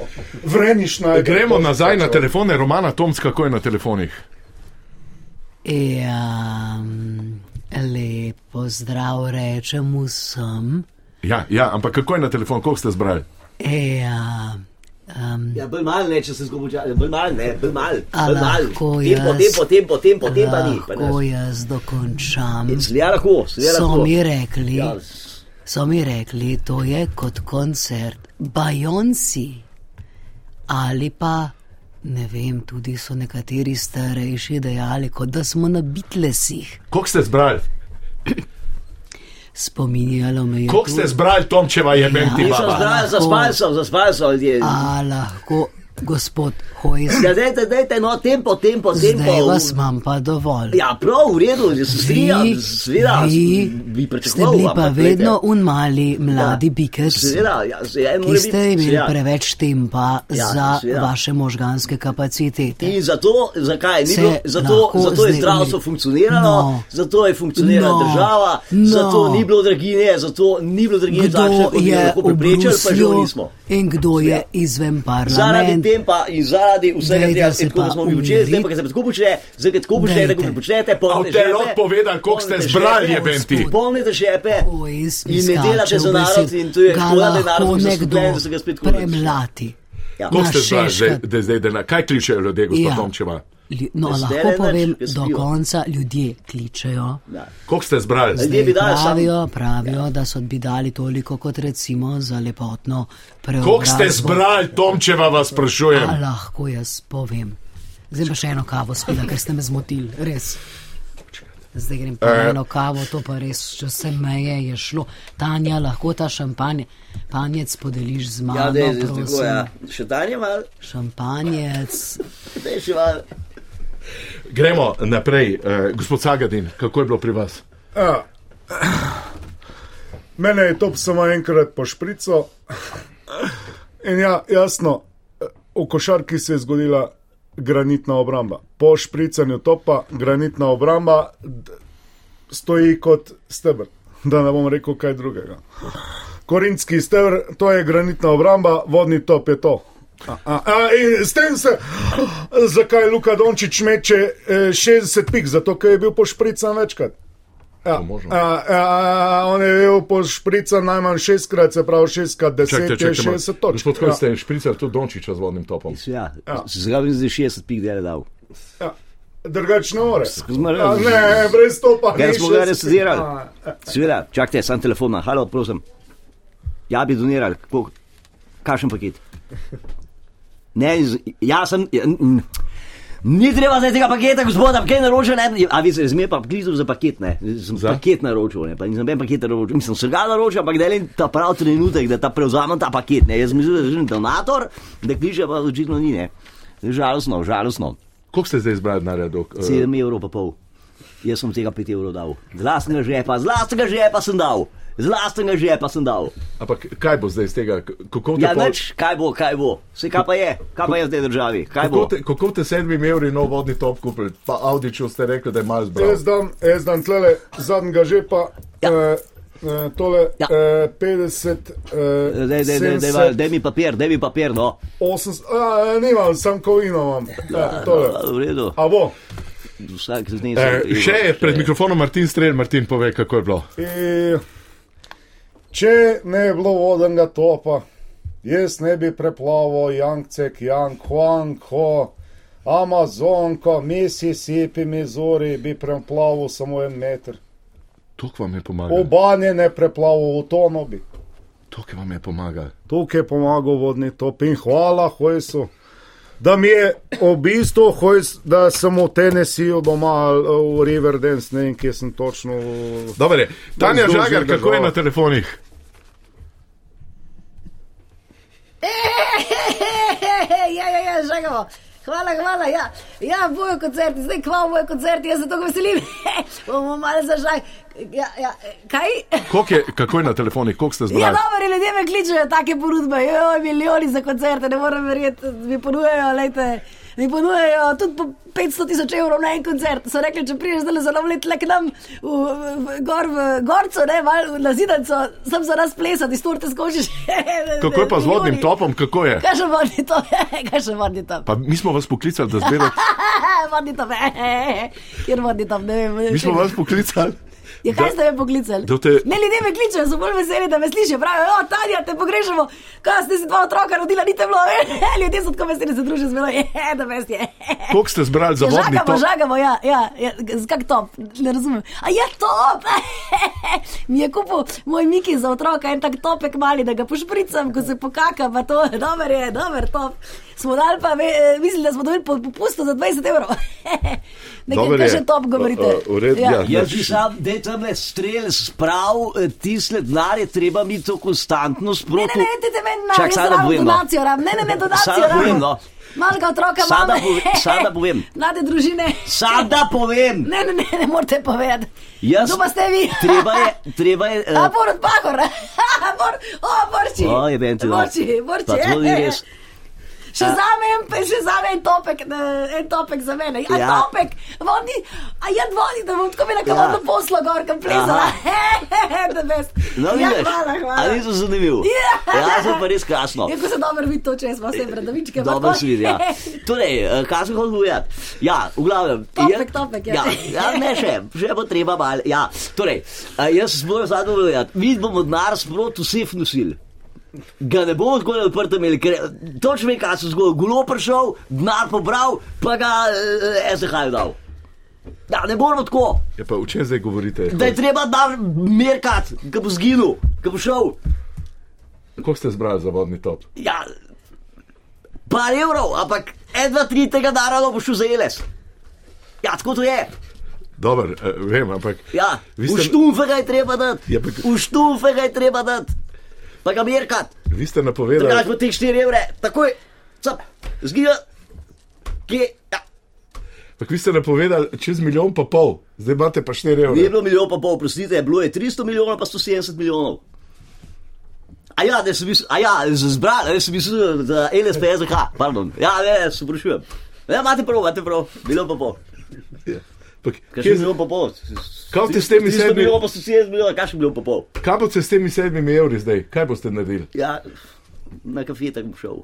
D: Vreni
G: No,
D: Schneider.
A: Ja. Gremo
D: bože,
A: nazaj na
D: sačuvaj.
A: telefone, Romana Tomc, kako je na telefonih.
E: Ja, lepo zdrav rečem vsem.
A: Ja, ja, ampak kako je na telefon, koliko ste zbrali?
E: Ja, um,
C: Ja, bolj mal ne, če se zgubi čas. Bolj mal ne, bolj mal.
E: A
C: bolj mal.
E: lahko
C: Tem,
E: jaz?
C: potem, potem, potem, potem pa ni.
E: lahko jaz dokončam.
C: Slija lahko, slija
E: So
C: lahko.
E: mi rekli,
C: Ja,
E: so mi rekli, to je kot koncert Bajonci ali pa. Ne vem, tudi so nekateri starejši dejali, kot da smo na bitlesih.
A: Koliko ste zbrali?
E: Spominjalo me je. Ja,
A: Koliko
E: to-
A: ste zbrali, Tomčeva je meni ti
C: so
A: baba?
C: zdaj, zaspali so, zaspali so ljudje.
E: A lahko, gospod Hojs,
C: Ja, dajte, dajte, no, tempo, tempo, tempo.
E: zdaj vas imam pa dovolj.
C: Ja, prav, v redu, že se strinjam,
E: Vi-
C: seveda,
E: vi
C: bi
E: Ste
C: pričakoval.
E: bili pa
C: ampak, glejte,
E: vedno un mali mladi
C: Ja.
E: bikers,
C: Seveda, ja, se je
E: ki ste imeli
C: ja.
E: preveč tempa
C: Ja,
E: za
C: seveda.
E: vaše možganske kapacitete.
C: In zato, zakaj ni
E: Se
C: bilo, zato,
E: lahko
C: zato je
E: zdaj
C: zdravstvo
E: umiri.
C: funkcioniralo, no.
E: No.
C: zato je funkcionirala no.
E: No.
C: država, no.
E: No.
C: zato ni bilo draginje, zato ni bilo draginje takšne,
E: Kdo
C: kot bi jo
E: je
C: lahko
E: v
C: preprečili, pa že jo
E: Bruslju
C: nismo.
E: In kdo je izven
C: Zaradi
E: parlamenta?
C: tempa in zaradi vsega
E: Dajte
C: tega,
E: se
C: in tako
E: pa
C: kot smo mi počeli,
E: umirite.
C: zdaj pa, ker se pa tako počne, zdaj ker tako počne,
E: Dajte.
C: tako kot počnete, polnite
A: boste
C: žepe.
A: lahko povedali, koliko ste
C: polnite
A: zbrali,
C: žepe,
A: jeben ti.
C: Polnite žepe
E: Oj, iz-
C: in ne
E: izkače
C: delate za
E: v
C: narod
E: besed.
C: in to je
E: Ga
C: škoda
E: lahko
C: denarno, da se
E: nekdo
C: spet, da se ga spet kupite.
E: premlati.
C: Ja.
A: Kako
E: Na
A: ste zdaj,
E: Šeškem.
A: zdaj, da zdaj, da na kaj kličejo ljudje, gospod
E: Ja.
A: Tomčeva?
E: Lju- No,
C: Ne
E: lahko
C: zdere nič,
E: povem,
C: jaz
E: do
C: pivo.
E: konca ljudje kličejo.
A: Koliko ste zbrali?
C: Ljudje bi dali samo- Ja.
E: pravijo, pravijo, da so bi dali toliko kot recimo za lepotno preobrazbo.
A: Koliko ste zbrali, Tomčeva vas sprašujem?
E: A lahko jaz povem. Zdaj pa še eno kavo, spila, ker ste me zmotili, res. Zdaj grem pa
A: Eh.
E: na eno kavo, to pa res, če se meje je šlo. Tanja, lahko ta šampanje, panjec podeliš z mano,
C: Ja, da je zdaj tako,
E: prosim.
C: ja. Še danje malo,
E: Šampanjec,
C: da je še malo.
A: Gremo naprej, eh, gospod Sagadin, kako je bilo pri vas?
D: Ja. Mene je top samo enkrat po šprico. In ja, jasno, v košarki se je zgodila granitna obramba. Po špricanju topa granitna obramba d- stoji kot stebr. Da ne bom rekel kaj drugega. Korinski stebr, to je granitna obramba, vodni top je to. A, a, a, in s tem se, zakaj Luka Dončić meče eh, 60 pik, zato ker je bil pošprican večkrat. Ja,
F: možno.
D: a, a, on je bil pošprican najmanj šestkrat, se pravi šestkrat, deset je
A: malo.
D: šestdeset točk.
A: Gospod, kaj
D: Ja.
A: ste špricali tudi Dončiča z vodnim topom?
C: Ja, zraven zdaj 60 pik dele dal.
D: Ja. Drugačne ore.
C: mora-
D: Ja, Ne, brez topa.
C: Kaj
D: ni
C: Ja, smo ga
D: 60.
C: resedirali?
D: A, a,
C: Seveda, čakajte, sam telefon, na, halo, prosim. Ja, bi donirali, kako, kakšen paket. Ne, iz- jaz sem. ja, mm, Ni treba zdaj tega paketa, gospod, da kaj naročil, ne, a vi se zmeraj pa klical za paket, ne, sem za? paket naročil, ne, pa nisem noben paket naročil, mislim, sem ga naročil, ampak da je ta prav trenutek, da ta prevzamem ta paket, ne, jaz mislim, da je že donator, da kliče pa očitno ni, ne, žalostno, žalostno.
A: Koliko ste zdaj zbrali denarja? dok, eh,
C: 7 evrov pa pol. Jaz sem tega 5 evrov dal. Z lastnega žepa, z lastnega žepa sem dal. Z lastnega žepa sem dal.
A: Ampak kaj bo zdaj iz tega? K- Kako te,
C: Ja,
A: pol-
C: nič, kaj bo, kaj bo. Vse kaj pa je, kaj pa je v tej državi. Kaj
A: kako
C: bo?
A: te, kako te sedmim evri nov vodni top kupili? Pa Audiču ste rekli, da je malo zbral.
D: Jaz dam, jaz dam tlele zadnjega žepa.
C: Ja.
D: eh, eh, Tole
C: Ja.
D: eh, 50, eh,
C: Daj, daj, daj, daj, daj,
D: 70,
C: daj mi papir, daj mi papir, no.
D: 80, a, nimam, sam kovino imam. Ja, tole.
C: A, V redu,
D: A bo.
C: vsak znesek.
A: Eh, še je pred mikrofonom Martin Strel, Martin pove, kako je bilo.
D: Eh, Če ne bi bilo vodenega topa, jaz ne bi preplaval Jankcek, Jankhuanko, Amazonko, Mississippi, Missouri, bi preplaval samo en meter.
A: To, ki vam je pomagalo.
D: Obanje ne preplaval, v tono bi.
A: To, ki vam je pomagalo.
D: Tukaj je pomagal vodni top in hvala Hojsu. Da mi je v bistvu Hojs, da sem v Tennesseeju doma, ali eh, v Riverdance, ne vem, kje sem točno.
A: Dobar je. Tanja
D: Združen
A: Žagar, kako je
D: država.
A: na telefonih?
H: Ej, Ja, ja, ja, žagamo. Hvala, hvala. Ja, ja bojo koncerti, zdaj kva bojo koncerti, jaz se tako veselim. Bomo malo zažaj. Ja, ja, kaj?
A: Koliko Je, kako je na telefonih? Koliko ste
H: Ja,
A: zbrali?
H: dobro, ljudje me kličejo, take ponudbe, joj, milijoni za koncerte, ne morem verjeti, mi ponujajo, lejte. Mi ponujajo tudi po 500 tisoč evrov na en koncert. So rekli, če priješ zdaj za nov let, le k nam, v, v, v, gor v Gorcu, ne, mal, na Zidancu, sem za nas plesati, storte skočiš.
A: Kako je pa z vodnim
H: Milijoni.
A: topom? Kako je?
H: Kaj še vodni to, kaj še vodni to.
A: Pa mi smo vas poklicali, da zbirate.
H: Vodni tam, kjer vodni tam, ne vem.
A: Mi smo vas poklicali.
H: Ja, kaj ste me poklicali?
A: da te-
H: Ne, ljudje me kličejo, so bolj veseli, da me slišijo. Pravijo, "Jo, Tanja, te pogrešamo, kaj ste si dva otroka rodila, ni te bilo. Ljudje so tako veseli, da se družijo z menoj, "Je, da me je.
A: Koliko ste zbrali za vodni
H: Žagamo,
A: top?
H: žagamo, ja, ja, ja z kak top, ne razumem. A je top! Mi je kupil moj Miki za otroka en tak topek mali, da ga pošpricam, ko se pokaka, pa to dober je, dober top. Smo dali pa, ve- eh, mislim, da smo dobili po- popustu za 20 evrov. Nekaj,
A: Dober
H: kaj
A: je.
H: še top govorite.
A: O, o, v redu, ja.
C: Jaz bi sam, da je tam le strel sprav, tisle denar je treba mi to konstantno
H: Ne,
C: sproti.
H: ne, ne, ti te meni na
C: Čak, sada povem, no.
H: donacijo, ram. ne, ne, ne, donacijo.
C: Sada
H: rabim.
C: povem, no.
H: Malega otroka
C: Sada
H: imam.
C: pove- sada povem.
H: Mlade družine.
C: Sada povem!
H: Ne, ne, ne, ne morete povedati.
C: Jaz,
H: Kdo pa ste vi?
C: treba je, treba je. eh,
H: A Borut Pahor, a Bor, o Borči.
C: O, je ben ti, no.
H: Borči, Borči.
C: Pa to ni
H: eh, eh.
C: res.
H: Še za me en, pe- še za me en topek, eh, en topek za mene. A
C: Ja.
H: ja. topek, vodi, a jaz vodi, da bom tako imela
C: Ja.
H: kavodno ja. poslo gor, kam plezala. Da veš.
C: No,
H: ja,
C: vidiš,
H: hvala, hvala.
C: Ali nisem zanimiv?
H: Ja.
C: Ja, sem pa res krasno.
H: Jako se dobro vidi to, če smo vse bradavičke. ampak
C: Dobro
H: pol-
C: se vidi. Ja. Torej, eh, kaj sem hotel povedati? Ja, v glavnem.
H: Topek,
C: jaz-
H: topek, ja.
C: ja. ja, ne še, še bo treba malo. Ja. Torej, eh, jaz sem moral zadnjo povedati, mi bomo denar sproti vseh nosil. Ga ne bomo zgolj odprto imeli, ker točno vem, kaj se je zgodilo. Gulo prišel, denar pobral, pa ga eh, SDH je dal. Ja, ne moramo tako,
A: Je pa v čem zdaj govorite?
C: da je treba dar merkat, ki bo zginil, ki bo šel.
A: Kako ste zbrali za vodni top?
C: Ja, par evrov, ampak en, dva, tri tega daralo boš vzel les. Ja, tako to je.
A: Dober, eh, vem, ampak.
C: Ja,
A: vi
C: v
A: ste,
C: štumfe ga je treba dati.
A: Ja, ampak-
C: V štumfe ga je treba dati. Pa ga merkat,
A: vi ste
C: drugač
A: napovedali.
C: bo teh 4 evre, takoj, cap, zgija, kje, ja.
A: Ampak vi ste napovedali čez milijon pa pol, zdaj imate pa 4
C: Ni
A: evre.
C: bilo milijon pa pol, prosite, bilo je 300 milijonov pa 170 milijonov. A ja, da sem mislil, a ja, zbral, da sem mislil, da LSPSK, pardon. Ja, ne, se vprašujem. Ja, imate prav, imate prav, milijon pa pol.
A: Ampak
C: Kaj
A: kje-
C: še milijon pa pol?
A: Kaj boste s temi
C: 300
A: sedmi-
C: milijonov pa 170 milijonov, kaj še milijon pa pol?
A: Kaj boste s temi sedmimi evri zdaj? Kaj boste naredili?
C: Ja, na kafetek bom šel.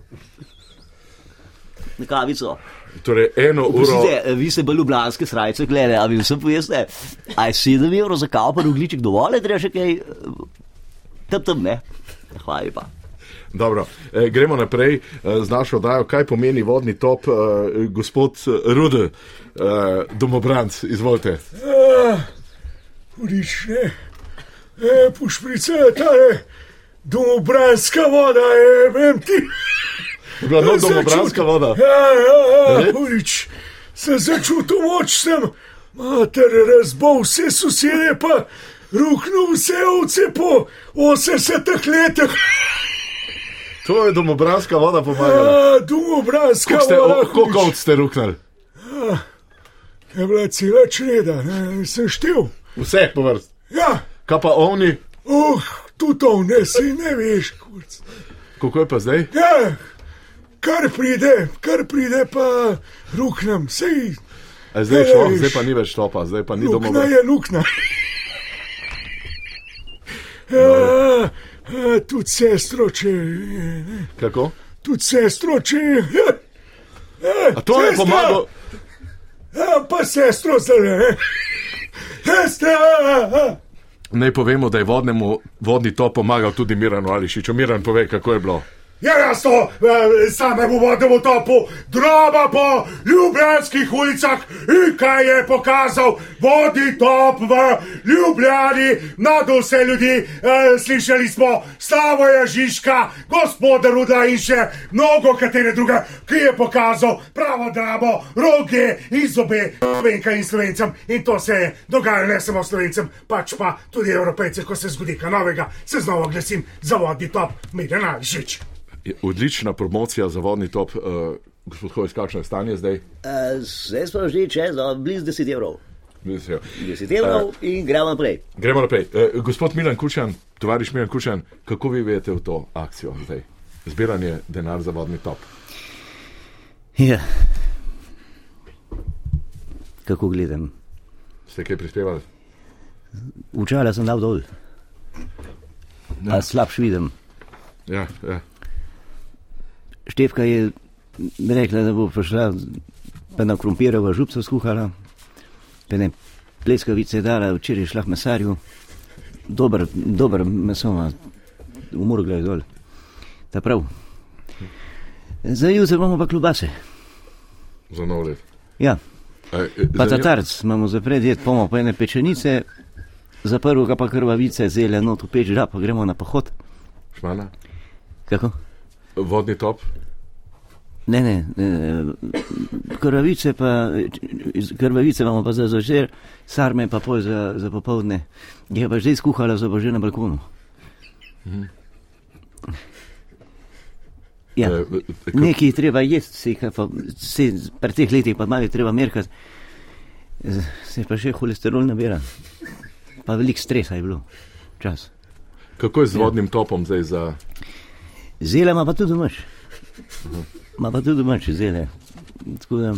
C: Na kavico.
A: Torej, eno uro.
C: Prosite, vi ste bolj ljubljanske srajce, gledaj, a vi vsem poveste, a je 7 evrov za kapo, rugliček dovolj, ali treba še kaj, eh, tam tam ne. Hvala lepa.
A: Dobro, eh, gremo naprej eh, z našo oddajo, kaj pomeni vodni top, eh, gospod Rud, eh, domobranc, izvolite.
D: Hudič, Ah, ne. E, Pošprica, ta je domobranska voda, je, vem ti.
A: Je bila nov
D: Sem
A: domobranska
D: začutil-
A: voda.
D: Ja, ja,
A: Ne?
D: ja, hudič. Sem začutil moč, sem mater razbol vse sosede, pa ruknil vse ovce po 80 letih. Ah,
A: To je domobranska voda pomagala.
D: Ja, domobranska
A: Koliko ste-
D: voda.
A: o- Koliko
D: hudič.
A: ovc ste ruknili?
D: ah, Je bila cela čreda, ne, sem štev.
A: Vse po vrst.
D: Ja,
A: Kaj pa ovni,
D: uh, tudi ovne si ne veš, kurc.
A: kako je pa zdaj?
D: Ja, kar pride, kar pride, pa ruknem, sej,
A: A zdaj je
D: Ja,
A: šlo,
D: vidiš.
A: zdaj pa ni več topa, zdaj pa ni
D: lukna
A: domobranca.
D: je lukna. Ja, ja, tudi sestro, če, ne,
A: Kako?
D: tudi sestro, če. Ja, ja,
A: A to je
D: sestra,
A: pomagal.
D: Ja, pa sestro, zdaj ne. Sestra! ja, ja.
A: Naj povemo, da je vodnemu, vodni top pomagal tudi Miranu Ališiču. Miran, povej, kako je bilo.
D: Ja, jasno, eh, same v vodnem topu, droba po ljubljanskih ulicah in kaj je pokazal vodni top v Ljubljani, nad vse ljudi, eh, slišali smo Slavoja Žižka, gospoda Ruda in še mnogo katere druge, ki je pokazal pravo drabo, roge in zobe Slovenka in Slovencem. In to se je dogajalo ne samo Slovencem, pač pa tudi Evropejcem, ko se zgodi kaj novega, se znova glasim za vodni top, Mirjana Žič.
A: Je Odlična promocija za vodni top. eh, Gospod Hojs, kakšno je stanje zdaj?
C: Eh, Zdaj smo že čez eh, blizu 10 evrov.
A: Mislim,
C: 10
A: Eh,
C: evrov in gremo naprej.
A: Gremo naprej. Eh, Gospod Milan Kučan, tovariš Milan Kučan, kako vi vedete v to akcijo zdaj? Zbiranje denar za vodni top.
C: Ja. Kako gledam?
A: Ste kaj prispevali?
C: Včeraj sem dal dol. Ja. Slabš vidim.
A: Ja, ja.
C: Števka je rekla, da bo prišla, pa na krompirova župca skuhala, pa ne pleskavice dala, včeraj je šla k mesarju, dober, dober meso ima, umor gledaj dol. Ta prav. Za jutro imamo pa klobase.
A: Za nov let.
C: Ja,
A: Eh, eh,
C: pa
A: zanima-
C: tatarc imamo za predjed, pomo pa ene pečenice, za prvo ga pa krvavice, zelje not v peč, da pa gremo na pohod.
A: Šmana,
C: Kako?
A: vodni top.
C: Ne, ne, ne, krvavice, pa, č- krvavice imamo pa za začer, sarme pa pol za, za popovdne. Je pa že skuhala, so pa že na balkonu. Mhm. Ja,
A: Eh, eh, kako-
C: nekaj je treba jesti, se, kaj pa, se, pri teh letih pa malo je treba merkati. Z- Se pa še holesterol nabira. Pa veliko stresa je bilo. Čas. Ja.
A: Kako je z vodnim topom zdaj za
C: Zela ima pa tudi noč. Ma pa tudi doma čez dele. Tako da,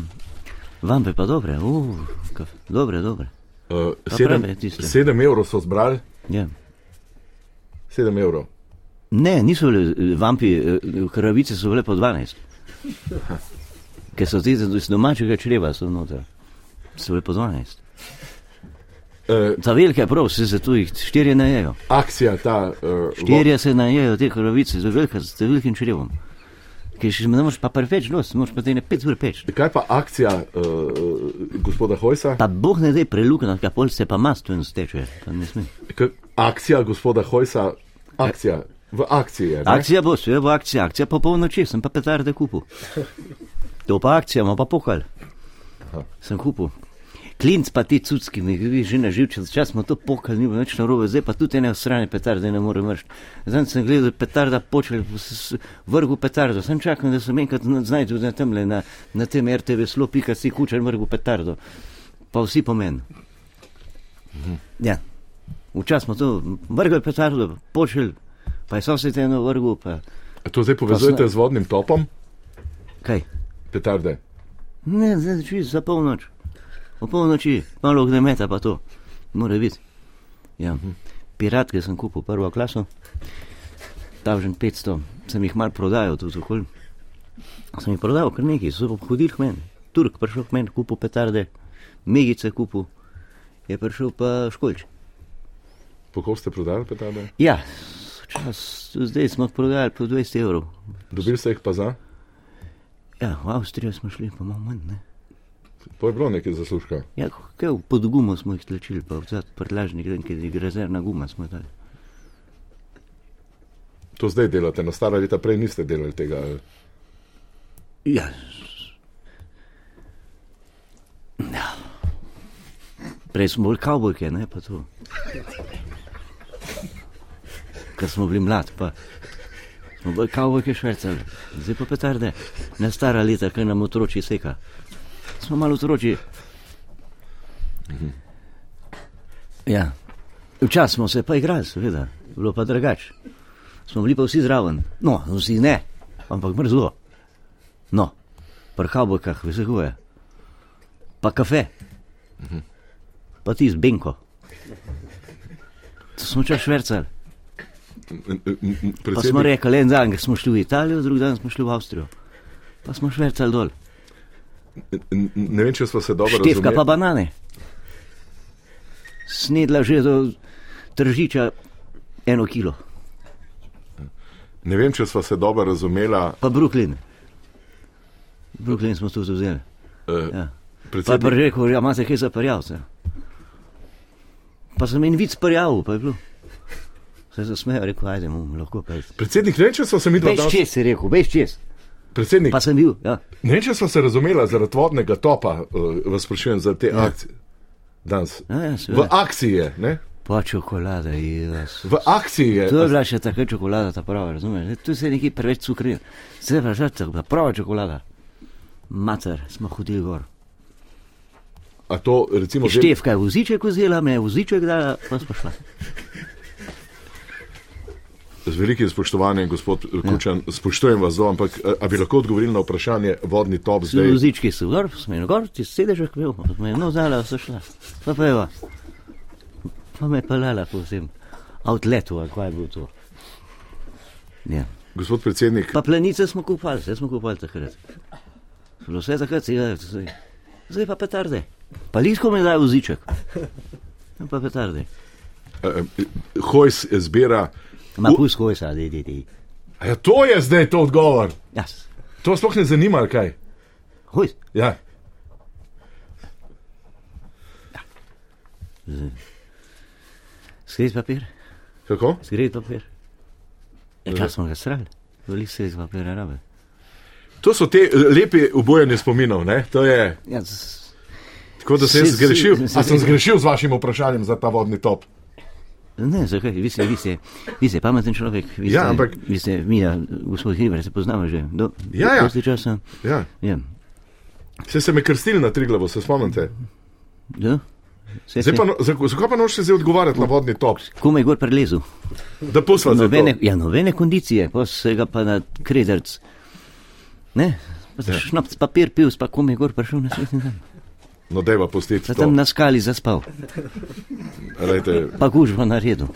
C: vam pa dobre, uh, kaf, dobre, dobre.
A: Uh,
C: Pa prave tiste.
A: 7 evrov so zbrali,
C: Ja.
A: 7 evrov.
C: Ne, niso bili eh, vampi, eh, kravice so bile po 12. Ker so ti iz domačega čreva, so noter. So bile po 12.
A: Uh,
C: Ta velika je prav, vse se tu jih štirje najejo.
A: akcija ta. Uh,
C: Štirje se najejo te kravice, z, velika, z velikim črevom. Ker še ne moreš pa preveč los, moraš pa te ne pet ur peč.
A: Kaj pa akcija uh, gospoda Hojsa?
C: Pa boh ne dej prelukna, kaj pol se pa mastu in steče. Pa ne sme.
A: K akcija gospoda Hojsa, akcija v akciji je. ne?
C: Akcija bo, sve bo akcija, akcija pa polnoči, sem pa petarde kupil. To pa akcija, ima pa pokal. Sem kupil. Klinc pa ti cudski, mi vi že na živčen čas smo to pokal, ni bilo nič narobe, zdaj pa tudi ene strane petarde ne morem vršiti. Zdaj sem gledal petarda počel, vrgu petardo, sem čakal, da sem enkrat na- znajdel na temle, na, na tem RTV slo, pika si kučer vrgu petardo. Pa vsi pomen. Ja. Včasih smo to vrgli petardo, počeli, pa je sosed eno vrgel, pa
A: A To zdaj povezujete
C: Kasneje.
A: z vodnim topom,
C: kaj.
A: petarde.
C: Ne, zdaj čez za polnoč. O polnoči, malo ognjemeta pa to, mora biti. Ja.
A: Mhm.
C: Piratke sem kupil prvo klaso, tažen 500, sem jih mal prodajal tu zokol. Sem jih prodajal kar nekaj, so hodili k meni. Turk prišel k meni, kupil petarde, megice kupil, je prišel pa školč.
A: Kako ste prodali petarde?
C: Ja, čas, zdaj smo prodajali po 20 evrov.
A: Dobili ste jih pa za?
C: Ja, v Avstrijo smo šli pa malo manj, ne.
A: To je bilo nekaj zaslužka.
C: Ja, kaj, pod gumo smo jih tlačili, pa v zadnji prtlažnik, ki je rezervna guma, smo dali.
A: To zdaj delate, na stara leta prej niste delali tega. eh. ali?
C: Ja. Prej smo bili kavbojke, ne pa to. Ker smo bili mladi, pa smo bili kavbojke švrcali, zdaj pa petarde, ne stara leta, kaj nam otroči seka. Smo malo otroči. Ja, včasih smo se pa igrali, seveda, bilo pa drugače. Smo bili pa vsi zraven, no, vsi ne, ampak mrzlo. No, pri kabelkah vsehuje, pa kafe, pa ti z benko. To smo čas švrcali. Pa smo
A: Predsednik,
C: rekli, en dan ker smo šli v Italijo, drugi dan smo šli v Avstrijo. Pa smo švrcali dol.
A: n- n- ne vem, če smo se dobro
C: Števka pa
A: razumeli.
C: banane. Snedla že do tržiča eno kilo,
A: Ne vem, če smo se dobro razumela.
C: pa Brooklyn. Brooklyn smo tudi vzeli.
A: eh,
C: Ja. Pa je pa
A: Predsednik,
C: rekel, ja, imate kaj za parjavce. Pa sem en vic parjavil, pa je bilo. Se je zasmejal, rekel, ajde, mu lahko pejte.
A: predsednik, ne vem, če smo se mi dva
C: Veš
A: danes.
C: čez, je rekel, veš čez.
A: Predsednik,
C: Pa sem bil, ja.
A: ne vem, če smo se razumela zaradi vodnega topa, eh, vas sprašujem za te akcije. Danes.
C: ja, ja
A: V
C: seveda.
A: akciji je, ne?
C: pa čokolada, jes.
A: V akciji je.
C: To je bila še taka čokolada, ta prava, razumeš? Ne, Tu se je nekaj preveč cukril. Se je pa žrtev, pa prava čokolada. Mater, smo hodili gor.
A: A to, recimo, zdaj-
C: Števka je voziček vzela, me je voziček dala, pa smo šla.
A: Z velikim spoštovanjem, gospod eh, Kučan,
C: Ja.
A: spoštujem vas zelo, ampak eh, a bi lahko odgovorili na vprašanje vodni top zdaj?
C: Vozički so gor, smo jim gor, ti sedeš, kako je, pa smo jim no dala, so šla. Pa pa evo, pa me je pelala po tem outletu, ali kaj je bilo to. e Ja.
A: Gospod predsednik,
C: Pa plenice smo kupali, vse smo kupali takrat. Bilo vse takrat, cigarete, vse. zdaj pa petarde. Pa lisko mi dajo voziček. Ja, Pa petarde.
A: eh, eh, Hojs zbira.
C: Ma
A: U-
C: pusko je sad, idi, idi.
A: A Ja, to je zdaj to odgovor.
C: Jas,
A: To sploh ne zanima, ali kaj.
C: hoj.
A: Ja.
C: Ja. Skrit papir,
A: Kako?
C: skrit papir. Ja, čas smo ga srali, veliko skrit papir rabe.
A: To so te eh, lepe obojanje spominov. Ne? To je
C: Ja, z-
A: tako, da sem jaz
C: Si- si-
A: zgrešil.
C: si-
A: A sem zgrešil z vašim vprašanjem za ta vodni top.
C: ne, zakaj, vi ste, vi ste, vi ste pameten človek. Vi ste,
A: Ja, ampak-
C: Vi ste, mi, ja, gospod Hriber, se poznamo že. Do,
A: Ja, ja.
C: dosti časa.
A: Ja.
C: Ja.
A: Se ste me krstili na tri glavo, se spomnite.
C: Do? Se,
A: Zdaj
C: se,
A: pa, no- zak- zakaj pa nočete zdaj odgovarjati na vodni top?
C: Komaj gor prelezu.
A: Da posla za to.
C: Nobene, ja, nobene kondicije, pa se ga pa na kredarc Ne, pa si šnaps papir pil, pa kom je gor prišel na svet in tam.
A: No, deva pustiti
C: Pa
A: to.
C: tam na skali zaspal,
A: Lejte,
C: pa gužva naredil.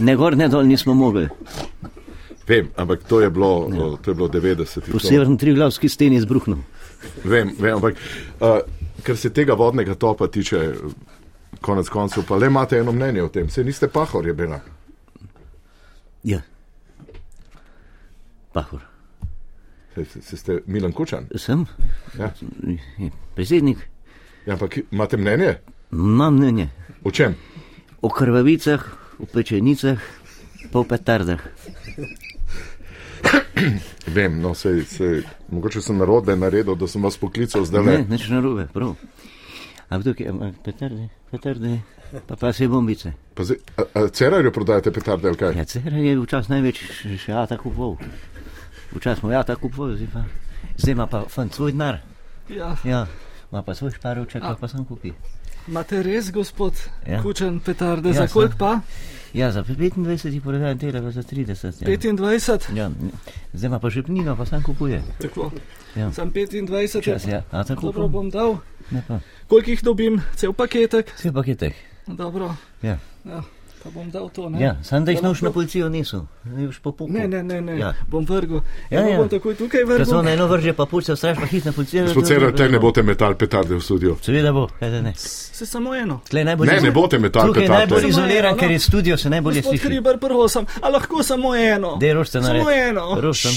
C: Ne gor, ne dol nismo mogli.
A: vem, ampak to je bilo,
C: Ja.
A: o, to je bilo 90.
C: Po
A: to-
C: severni triglavski steni je zbruhnil.
A: Vem, vem, ampak uh, kar se tega vodnega topa tiče, konec koncev pa le imate eno mnenje o tem, se niste pahor je bila.
C: Ja. Pahor.
A: Se, se, se ste Milan Kučan.
C: Sem?
A: Ja.
C: Predsednik,
A: Ja, ampak imate mnenje?
C: imam mnenje
A: O čem?
C: o krvavicah, o pečenicah, pa o petardah.
A: Vem, no, sej, sej, mogoče sem narode naredil, da sem vas poklical zdaj le.
C: Ne, nič narobe, prav. Ampak tukaj, ampak petarde, petarde, pa pa se bombice.
A: Pa zdaj, a, a Cerarju prodajate petarde ali kaj?
C: Ja, Cerar je včasih največ še- še ata kupoval. Včasih mu je ata kupoval, zdaj pa, zdaj ima pa fant svoj denar.
I: Ja,
C: Ja, ima pa svoj šparovček, pa, pa sam kupi.
I: imate res, gospod
C: Ja.
I: ja. Kučen, petarde,
C: Ja,
I: ja, za koliko
C: sem.
I: pa?
C: Ja, za 25 jih prodajam tele, pa za 30. Ja.
I: 25.
C: Ja, zdaj ima pa žepnino, pa sam kupuje.
I: Tako.
C: Ja.
I: Sam 25.
C: Čas, ja. A tako
I: Dobro bom dal.
C: Ne pa.
I: Koliko jih dobim? Cel paketek.
C: Vse paketek.
I: Dobro.
C: Ja.
I: Ja, pa bom dal to. Ne?
C: Ja, sam da jih
I: Da
C: noč na
I: lahko-
C: policijo niso, ne boš popukal.
I: Ne, ne, ne, ne.
C: Ja.
I: Ja. bom vrgel.
C: Ja,
I: Ja,
C: ja.
I: ja. Bom takoj tukaj
C: Če so
I: vrgel.
C: na eno vrže, pa pušča strašno hitna policija.
A: Gospod Cerar, te ne boste metal petarde v studio.
C: Seveda bo, kaj da ne.
I: Se samo eno.
C: Tle najbolj
A: Ne,
C: izo-
A: ne boste metal
C: Tukaj je
A: petarde.
C: najbolj
I: Samo
C: izoliran,
I: eno,
C: ker
I: no.
C: je studio se najbolje
I: Gospod
C: sliši.
I: Hriber, prvo sem, a lahko samo eno.
C: Dej rošte na
I: Samo eno.
C: Rošte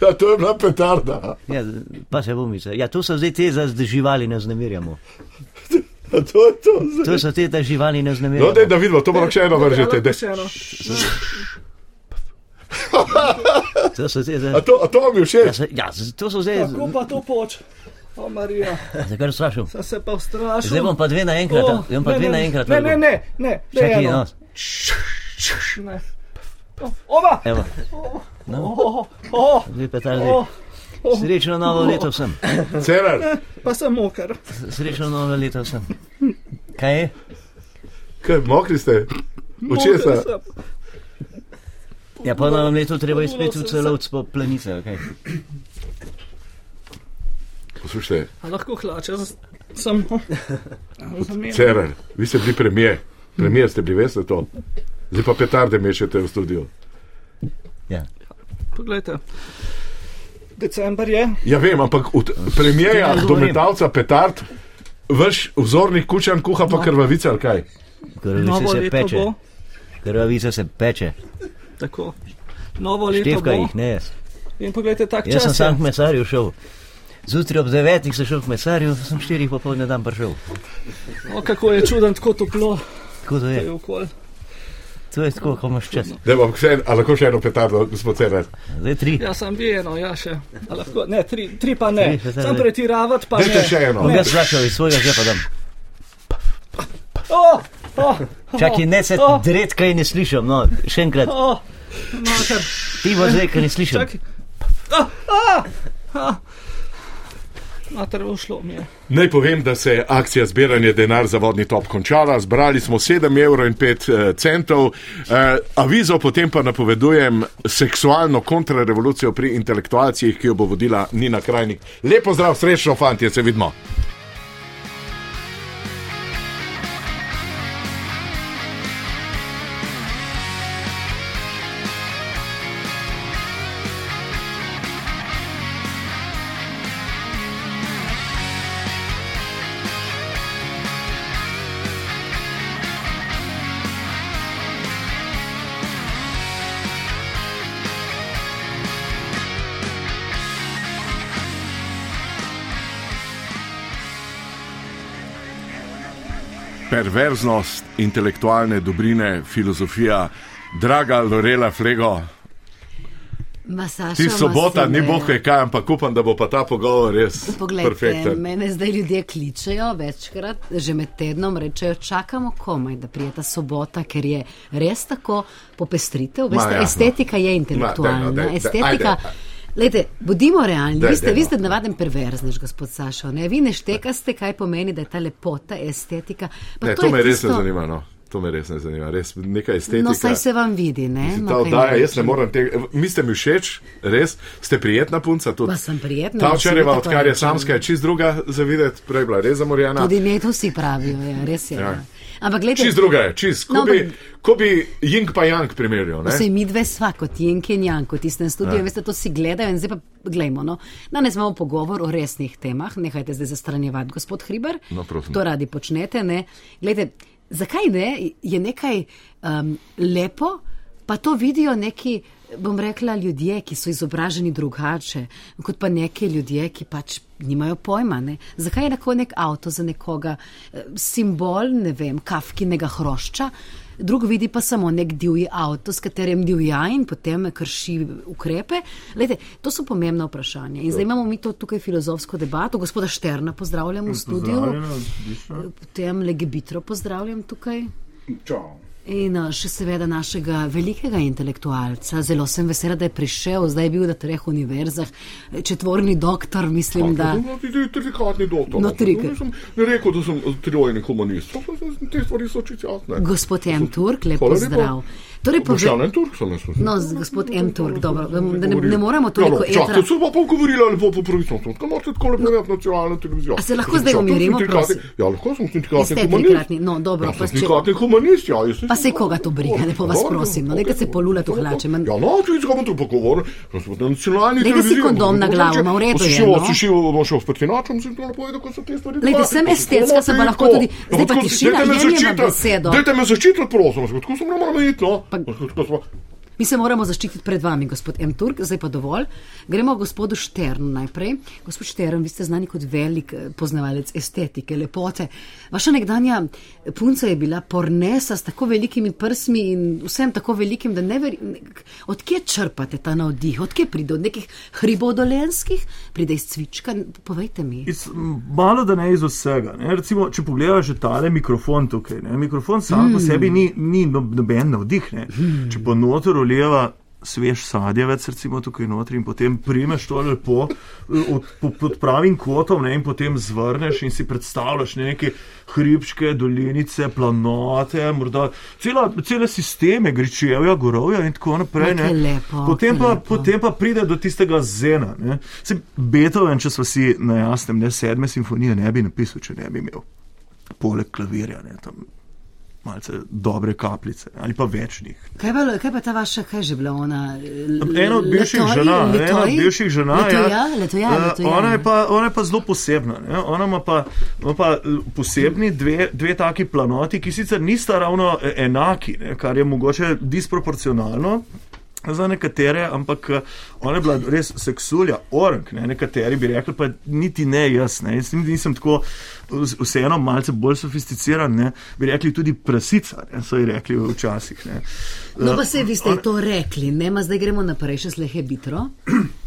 A: Ja, to je bila petarda.
C: Ja, pa se bomica. Ja, to so zdaj te, da z živali ne znamirjamo.
A: A to je to. zdaj.
C: To so te, da živali ne
A: No,
C: znamirjamo.
A: dej, da vidimo, to moram še eno
I: Ja,
A: vržeti.
I: lahko
A: daj.
I: še eno.
C: To so te,
A: A
C: da...
A: to, a to vam je
C: Ja,
A: všeč?
C: se- Ja, z- to so zdaj,
I: Kako pa to poč? O, Marija,
C: zakaj strašil.
I: sem se pa strašil.
C: Zdaj bom pa dve naenkrat, a? Zdaj bom pa
I: ne,
C: dve
I: ne,
C: naenkrat.
I: Ne, ne,
C: vrgel.
I: ne, ne. daj
C: Čakaj,
I: eno.
C: no,
I: Ne. O, Ova!
C: evo, No.
I: O, o,
C: dve petarde.
I: o, o.
C: Srečno novo leto vsem.
A: Cerar,
I: oh. Pa sem mokar.
C: Srečno novo leto vsem. Kaj je?
A: kaj, mokri ste? V česa?
C: Ja, pa nam leto treba izpeti v
I: sem se.
C: celovcu po planice, ok?
A: Poslušajte,
I: A lahko hlače, z- sem. no. Zamenjal.
A: Cerar, vi ste bili premijer, premijer ste bili, veste to. Zdaj pa petarde mešate v studio.
C: Ja.
I: Poglejte. December je.
A: Ja, vem, ampak od premijeja do metalca petard, vaš vzornik kučan kuha
C: No.
A: pa krvavice ali kaj.
C: Krvavica
I: Novo
C: se
I: leto
C: peče.
I: bo.
C: Krvavica se peče.
I: Tako. Novo leto
C: Števka
I: bo.
C: jih, ne jaz.
I: In poglejte, tak
C: Jaz sem
I: čas
C: sam k
I: je.
C: mesarju šel. Zjutraj ob devetih sem šel k mesarju, sem štirih popoldne dan prišel.
I: O, kako je čuden, tako toplo.
C: Tako da
I: Je
C: je,
I: okol.
C: to je tako, ko imaš čas.
A: Da, ampak še en, a lahko še eno petardo, gospod Cerar.
C: Zdaj tri.
I: Ja, sam bi eno, ja še. A Lahko, ne, tri, tri pa ne.
C: Tri, še zdaj
I: Sam
C: ne.
I: pretiravati pa
A: Dajte
I: ne.
A: še eno.
C: Bom jaz začel iz svojega žepa dam.
I: O, o,
C: Čakaj, ne se
I: o,
C: dret, kaj ne slišim, no, še enkrat.
I: O, mater.
C: Ti bo zdaj, kaj ne slišim.
I: Čakaj. Mater, ušlo mi je.
A: Naj povem, da se je akcija zbiranja denar za vodni top končala. Zbrali smo 7,5 evrov in 5 centov. Eh, avizo potem pa napovedujem seksualno kontrarevolucijo pri intelektualcih, ki jo bo vodila Nina Krajnik. Lepo zdrav, srečno, fantje, se vidimo. Perverznost intelektualne dobrine, filozofija, draga Lorela Flego.
E: Masaža.
A: Ti sobota ni boh kaj, kaj, ampak upam, da bo pa ta pogovor res
E: Poglejte,
A: perfekten.
E: mene zdaj ljudje kličejo večkrat, že med tednom rečejo, čakamo komaj, da prije ta sobota, ker je res tako popestritev. Veste,
A: jasno.
E: Ma, estetika je
A: Ma,
E: intelektualna.
A: daj, no,
E: Ma,
A: daj,
E: daj,
A: daj,
E: daj, estetika.
A: ajde.
E: Lejte, bodimo realni,
A: Daj,
E: vi ste,
A: daj,
E: vi
A: no.
E: ste navaden perverznež, gospod Sašo. Ne? Vi ne štekaste, kaj pomeni, da je ta lepota, estetika. Pa
A: Ne,
E: je
A: to me res ne
E: tisto-
A: zanima. No. To me res ne zanima, res nekaj estetike.
E: No, saj se vam vidi, ne?
A: Ta
E: No, kaj
A: oddaja,
E: ne
A: jaz ne morem tega. Mi ste mi všeč, res ste prijetna punca. Tudi.
E: Pa sem prijetna,
A: Ta
E: seveda,
A: včerajva,
E: to
A: odkar je
E: rečem.
A: samska, je čist druga za videti, prej je bila res zamorjena.
E: Tudi ne, to vsi pravijo, ja, res je. Ja. Ampak gledajte,
A: Čist druga je, čist. Ko
E: No,
A: bi,
E: ampak-
A: ko bi Jing pa Jang primerjal, ne?
E: Vse mi dve sva, kot Jink in Janko, v tistem studiu,
A: Ja.
E: ja. veste, to si gledajo in zdaj pa gledajmo. No. Danes imamo pogovor o resnih temah, nehajte zdaj zastranjevati, gospod Hriber.
A: No, prosim.
E: to radi počnete. Ne? Glede, zakaj ne? Je nekaj um, lepo, pa to vidijo neki, bom rekla, ljudje, ki so izobraženi drugače, kot pa neki ljudje, ki pač nimajo pojma. Ne? Zakaj je lahko nek avto za nekoga eh, simbol, ne vem, kafkinega hrošča? Drug vidi pa samo nek divji avto, s katerim divja in potem krši ukrepe. Lejte, to so pomembna vprašanja. In zdaj imamo mi to tukaj filozofsko debato. Gospoda Šterna pozdravljam v studiu. Potem Legebitro pozdravljam tukaj.
D: Čau.
E: In a, še seveda našega velikega intelektualca. Zelo sem vesela, da je prišel, zdaj je bil na treh univerzah, četvorni doktor, mislim, da.
F: Trikratni doktor.
E: No, trikrat.
F: Nisem rekel, da sem trojni humanist. To so- Te stvari so čisto jasne.
E: Gospod M. Turk, lep
F: Hvala lepa.
E: pozdrav. Torej,
F: Boštjan
E: pove...
F: en Turk sem jaz.
E: No, z- gospod M. Turk, dobro, da ne, ne moramo
A: Ja,
E: toliko
A: no,
E: etra.
F: Ja, no, Čakaj, sem pa pogovorila lepo po pravici. Kako morate tako lepo gledati nacionalno televizijo?
E: A se lahko zdaj
F: Boštjan Turk,
E: umirimo,
F: sem trikratni-
E: prosim?
F: Ja, lahko sem
E: Ste
F: sindikatni humanist.
E: trikratni, no, dobro,
F: Ja,
E: pa
F: sem
E: če-
F: sindikatni humanist, ja. jaz sem
E: Pa sej koga to briga, lepo vas
F: Dobro,
E: prosim, no,
F: okej,
E: nekaj se
F: dobro,
E: polula to
F: dobro.
E: hlače, manj-
F: Ja, no, tudi ga bom tu pogovoril. Na nacionalni
E: Daj, da si
F: televiziji.
E: kondom na glavo, ma v redu je,
F: Sušivo,
E: no.
F: sušivo bom šel v prtinačom, sem to napovedal, ko so te stvari.
E: Glejte, sem estetska, sem pa lahko tudi-
F: No,
E: zdaj pa tišina, jemljeva besedo.
F: Dajte me začitati, prosim, jaz tako sem ne moram iti, no.
E: Pa-
F: Tako smo-
E: Mi se moramo zaščititi pred vami, gospod M. Turk, zdaj pa dovolj. Gremo k gospodu Šternu najprej. Gospod Štern, vi ste znani kot velik eh, poznavalec estetike, lepote. Vaša nekdanja punca je bila pornesa s tako velikimi prsmi in vsem tako velikim, da ne verjamete. Odkje črpate ta navdih, odkje pride od nekih hribov dolenskih, pride iz cvička, povejte mi.
J: Iz, m, malo da ne iz vsega. Ne? Recimo, če pogledaš že tale mikrofon tukaj, ne? mikrofon sam mm. po sebi ni, ni no- noben navdih. Mm. Če pa noter oleva svež sadjevec, recimo tukaj notri in potem primeš to lepo eh, od, pod, pod pravim kotom ne? in potem zvrneš in si predstavljaš ne, neke hribčke, dolinice, planote, morda cela, cele sisteme, gričevja, gorovja in tako naprej.
E: Ma,
J: ne.
E: kaj No, lepo,
J: potem,
E: kaj
J: pa,
E: lepo.
J: potem potem pa pride do tistega zena. ne. Saj Beethoven, če smo si na jasnem, ne sedme simfonije ne bi napisal, če ne bi imel poleg klavirja, ne, tam malce dobre kapljice ali pa večnih.
E: Kaj pa, kaj pa ta vaša, kaj je že bila ona? l-
J: Ena od bivših
E: Letoji?
J: žena, ne, ena od
E: Letoji?
J: bivših žena.
E: Letoja,
J: ja.
E: letoja,
J: Eh,
E: letoja.
J: Ona je pa, ona je pa zelo posebna. Ne? Ona ima pa, ima pa eh, posebni dve, dve taki planoti, ki sicer nista ravno eh, enaki, ne? kar je mogoče disproporcionalno. Za nekatere, ampak eh, ona je bila res seksulja, orang, ne? nekateri bi rekli, pa niti ne jaz, ne? jaz niti nisem tako, vz- vseeno malce bolj sofisticiran, ne? bi rekli tudi prasica, ne? so ji rekli včasih. Ne?
E: No,
J: Eh,
E: pa se vi ste
J: ona-
E: to rekli, ne, ma zdaj gremo naprej še s lehe bitro.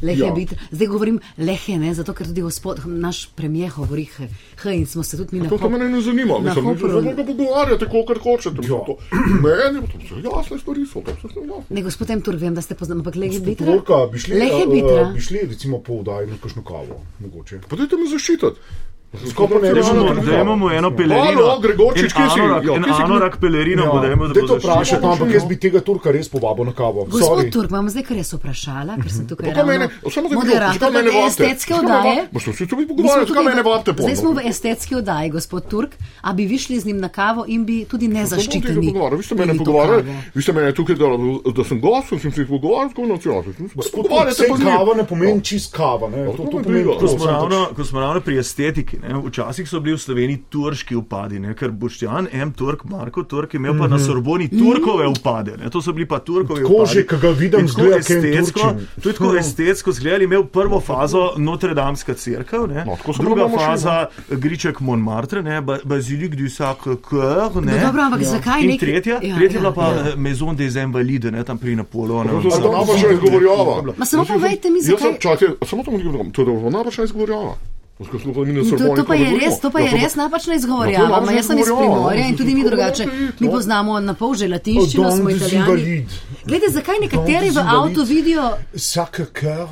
E: Lehe ja. bitro. Zdaj govorim lehe, ne, zato ker tudi gospod, naš premijer govori h, h in smo se tudi mi na
F: To, to
E: pop-
F: mene ne zanima,
E: Na
F: mislim,
E: Hopru.
F: da lahko pogovarjate, koliko hočete. mislim, to- Meni pa to so jasne stvari, so to so jasne.
E: Ne, gospod Emtur, vem, da ste poznali, ampak lehe bitra.
D: Turka, bi šli,
E: lehe
D: eh,
E: bitra.
D: bi šli recimo po vdaji na kakšno kavo, mogoče.
F: Pa dajte me zaščititi.
D: Skopo ne
J: Da
F: Dajmo-
D: rešimo.
J: imamo,
F: Ravno
J: da imamo eno pelerino.
F: Alo, Gregorčič,
J: En
F: kje si?
J: anorak-
F: Ja,
J: En
F: kje si bil?
J: anorak pelerino bo, da imamo, da
D: Ja. Daj
J: bo
D: to vprašaj,
J: zaščiteno.
D: pa ampak jaz bi tega Turka res povabil na kavo.
E: Gospod
D: Sorry.
E: Turk, vam zdaj, ker jaz vprašala, ker sem tukaj
F: Pa kaj mene, samo da vidim,
E: moderator
F: zakaj mene
E: te
F: vabite?
E: estetske
F: Zakaj me
E: oddaje.
F: vabite? Ma, sem se tudi
E: Mi smo
F: pogovarjal, zakaj
E: tukaj
F: mene
E: v-
F: vabite
E: Zdaj
F: pol?
E: smo v estetski oddaji, gospod Turk, a bi vi šli z njim na kavo in bi tudi
F: Kako bom
E: nezaščiteni.
F: tega pogovarjal? Vi ste mene
E: pili to
F: pogovarjali,
E: kavo.
F: vi ste mene tukaj dali, da sem gost, sem se jih pogovarjal, tako nacionalno.
D: Gospod Turk, saj kava ne pomeni čist kava, ne. Ja, To,
F: to
D: to
F: me
D: pomeni
F: briga.
J: Ko
D: prosim,
J: smo,
D: pač-
J: ravno, ko smo ravno pri estetiki, ne, včasih so bili v Sloveniji turški upadi, ne, ker Boštjan, M. Turk, Marko Turk je imel pa na Sorboni turkove upade. Ne, to so bili pa turkovi
D: Mhm. Tako
J: upadi.
D: že, ko ga vidim,
J: In tako
D: zgleda, ke je en
J: estetsko.
D: Turčin. Hm.
J: To je tako estetsko zgled, imel prvo fazo Notre-Damska crkva, ne,
F: No, tako so
J: druga
F: bomo šli,
J: faza Griček Montmartre, ne, Ba- Basilique du Sacre-Cœur.
E: No, dobro, ampak zakaj
J: In
E: neki-
J: tretja,
E: Ja,
J: tretja
E: ja,
J: je bila pa
E: ja.
J: eh, Maison des Invalides, ne, tam pri Napoleonu.
F: To je bila napačna izgovorjava.
E: Ma samo
F: Jaz sem-
E: povejte mi,
F: jaz
E: zakaj-
F: sem- Čakaj, samo to mi govorim, to je bila napačna izgovorjava. Zato smo pa mi na
E: In To,
F: Sorboni
E: to pa je
F: govorimo.
E: res, to pa
F: Ja,
E: je res napačna izgovorjava.
F: napačna
E: Ma jaz sem iz
F: izgovorjava,
E: Primorja in
F: no,
E: tudi mi
F: to je
E: drugače.
F: invalid,
E: Mi
F: no.
E: poznamo na pol že latinščino,
D: Odon
E: smo
D: des
E: italijani.
D: invalid.
E: Glede, zakaj nekateri
D: des
E: v
D: invalid.
E: avtu vidijo
D: Sacre-Cœur,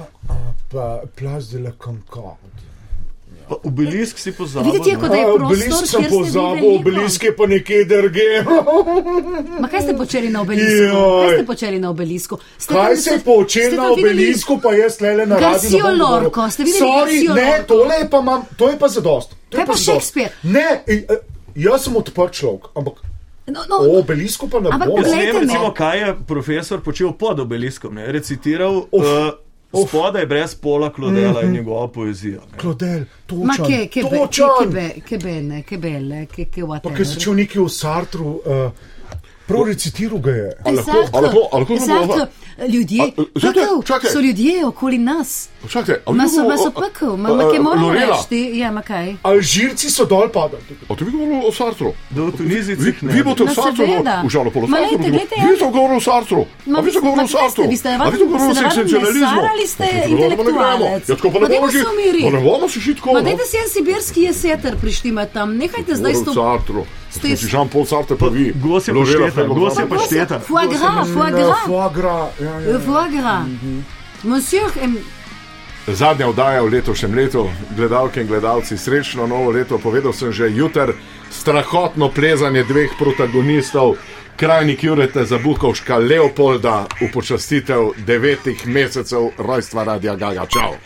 D: pa Place de la Concorde.
J: Obelisk si pozabil.
E: Videti je, kot da je prostor,
D: Obelisk sem
E: kjer ste bili
D: pozabil,
E: veliko.
D: obelisk je pa nekje drge.
E: Ma kaj ste počeli na obelisku?
D: Joj.
E: Kaj ste počeli na obelisku? Ste
D: Kaj
E: tam-
D: se je
E: ste-
D: počel
E: ste
D: na
E: tam videli-
D: obelisku, pa jaz le na radiu.
E: Garcijo
D: ne bom govoril.
E: Lorco, ste videli
D: Sorry,
E: Garcijo
D: ne,
E: Lorco?
D: tole je pa imam, to je pa zadost. To je
E: Kaj pa
D: zadost.
E: Shakespeare?
D: Ne, i- eh, jaz sem odprt človek, ampak
E: No, no,
D: o obelisku pa ne
E: Ampak
D: bom.
J: Jaz ne
E: Glejte
J: vem,
E: me.
J: recimo, kaj je profesor počel pod obeliskom. Ne? Recitiral uh, spodaj brez pola klodela mm -hmm. in njegova poezija. ne.
D: Klodel,
E: ma ke,
D: točan,
E: kebe,
D: točan.
E: kebe, kebene, kebele, ke, ke
D: Pa kaj
E: whatever.
D: se če v neki v Sartru, eh, prav recitiral ga je.
A: A lahko- a lahko- a lahko
E: Exactly.
A: govorimo-
E: Ljudje,
A: A, eh, čakaj,
E: pekel,
A: čakaj.
E: so ljudje okoli nas.
A: Čakajte, ali
E: Ma
A: vi
E: so, ma
A: govorimo
E: so
A: o-
E: pekel, ma,
A: o-
E: ma
A: o-
E: ke moramo
A: Lorela,
E: reči, ja, ma kaj.
D: Alžirci so dol padali.
A: A to vi govorili o Sartru?
J: Da v
A: Vi,
J: Tunizicih ne.
A: vi boste
E: No,
A: v Sartru,
E: seveda.
A: v Žalopolu,
E: Ma,
A: Sartru, no.
E: glejte, glejte,
A: vi ste govorili o Sartru,
E: Ma,
A: a vi ste
E: vi-
A: govorili
E: ma,
A: o
E: kaj
A: Sartru,
E: ste, vi ste
A: a
E: navadni-
A: vi ste govorili o
E: ste navadni
A: seksencionalizmu.
E: mesar ali ste
A: Pa to se dobro ne gremo.
E: intelektualec?
A: Ja, tako pa
E: Ma,
A: ne bomo
E: dajte
A: šli,
E: se umiriti.
A: pa ne bomo se šli tako.
E: Ma
A: no.
E: dajte si en sibirski jeseter prištimati tam, nehajte zdaj s
A: Govoril o
E: to...
A: Sartru,
E: ste-
A: ste si Jean Paul Sartre pa vi.
J: Gos je
A: Lorela
J: pošteta,
A: Feldman.
J: gos je
E: Prosim,
J: pošteta.
E: Foie gras, foie gras,
D: Foagra, ja, ja.
E: foie gras. Monsieur, em,
A: Zadnja oddaja v letošnjem letu, gledalke in gledalci, srečno novo leto. Povedal sem že jutr, strahotno plezanje dveh protagonistov, krajnik Jureta Zabukovška, Leopolda, upočastitev devetih mesecev rojstva Radia Gaga. Čau!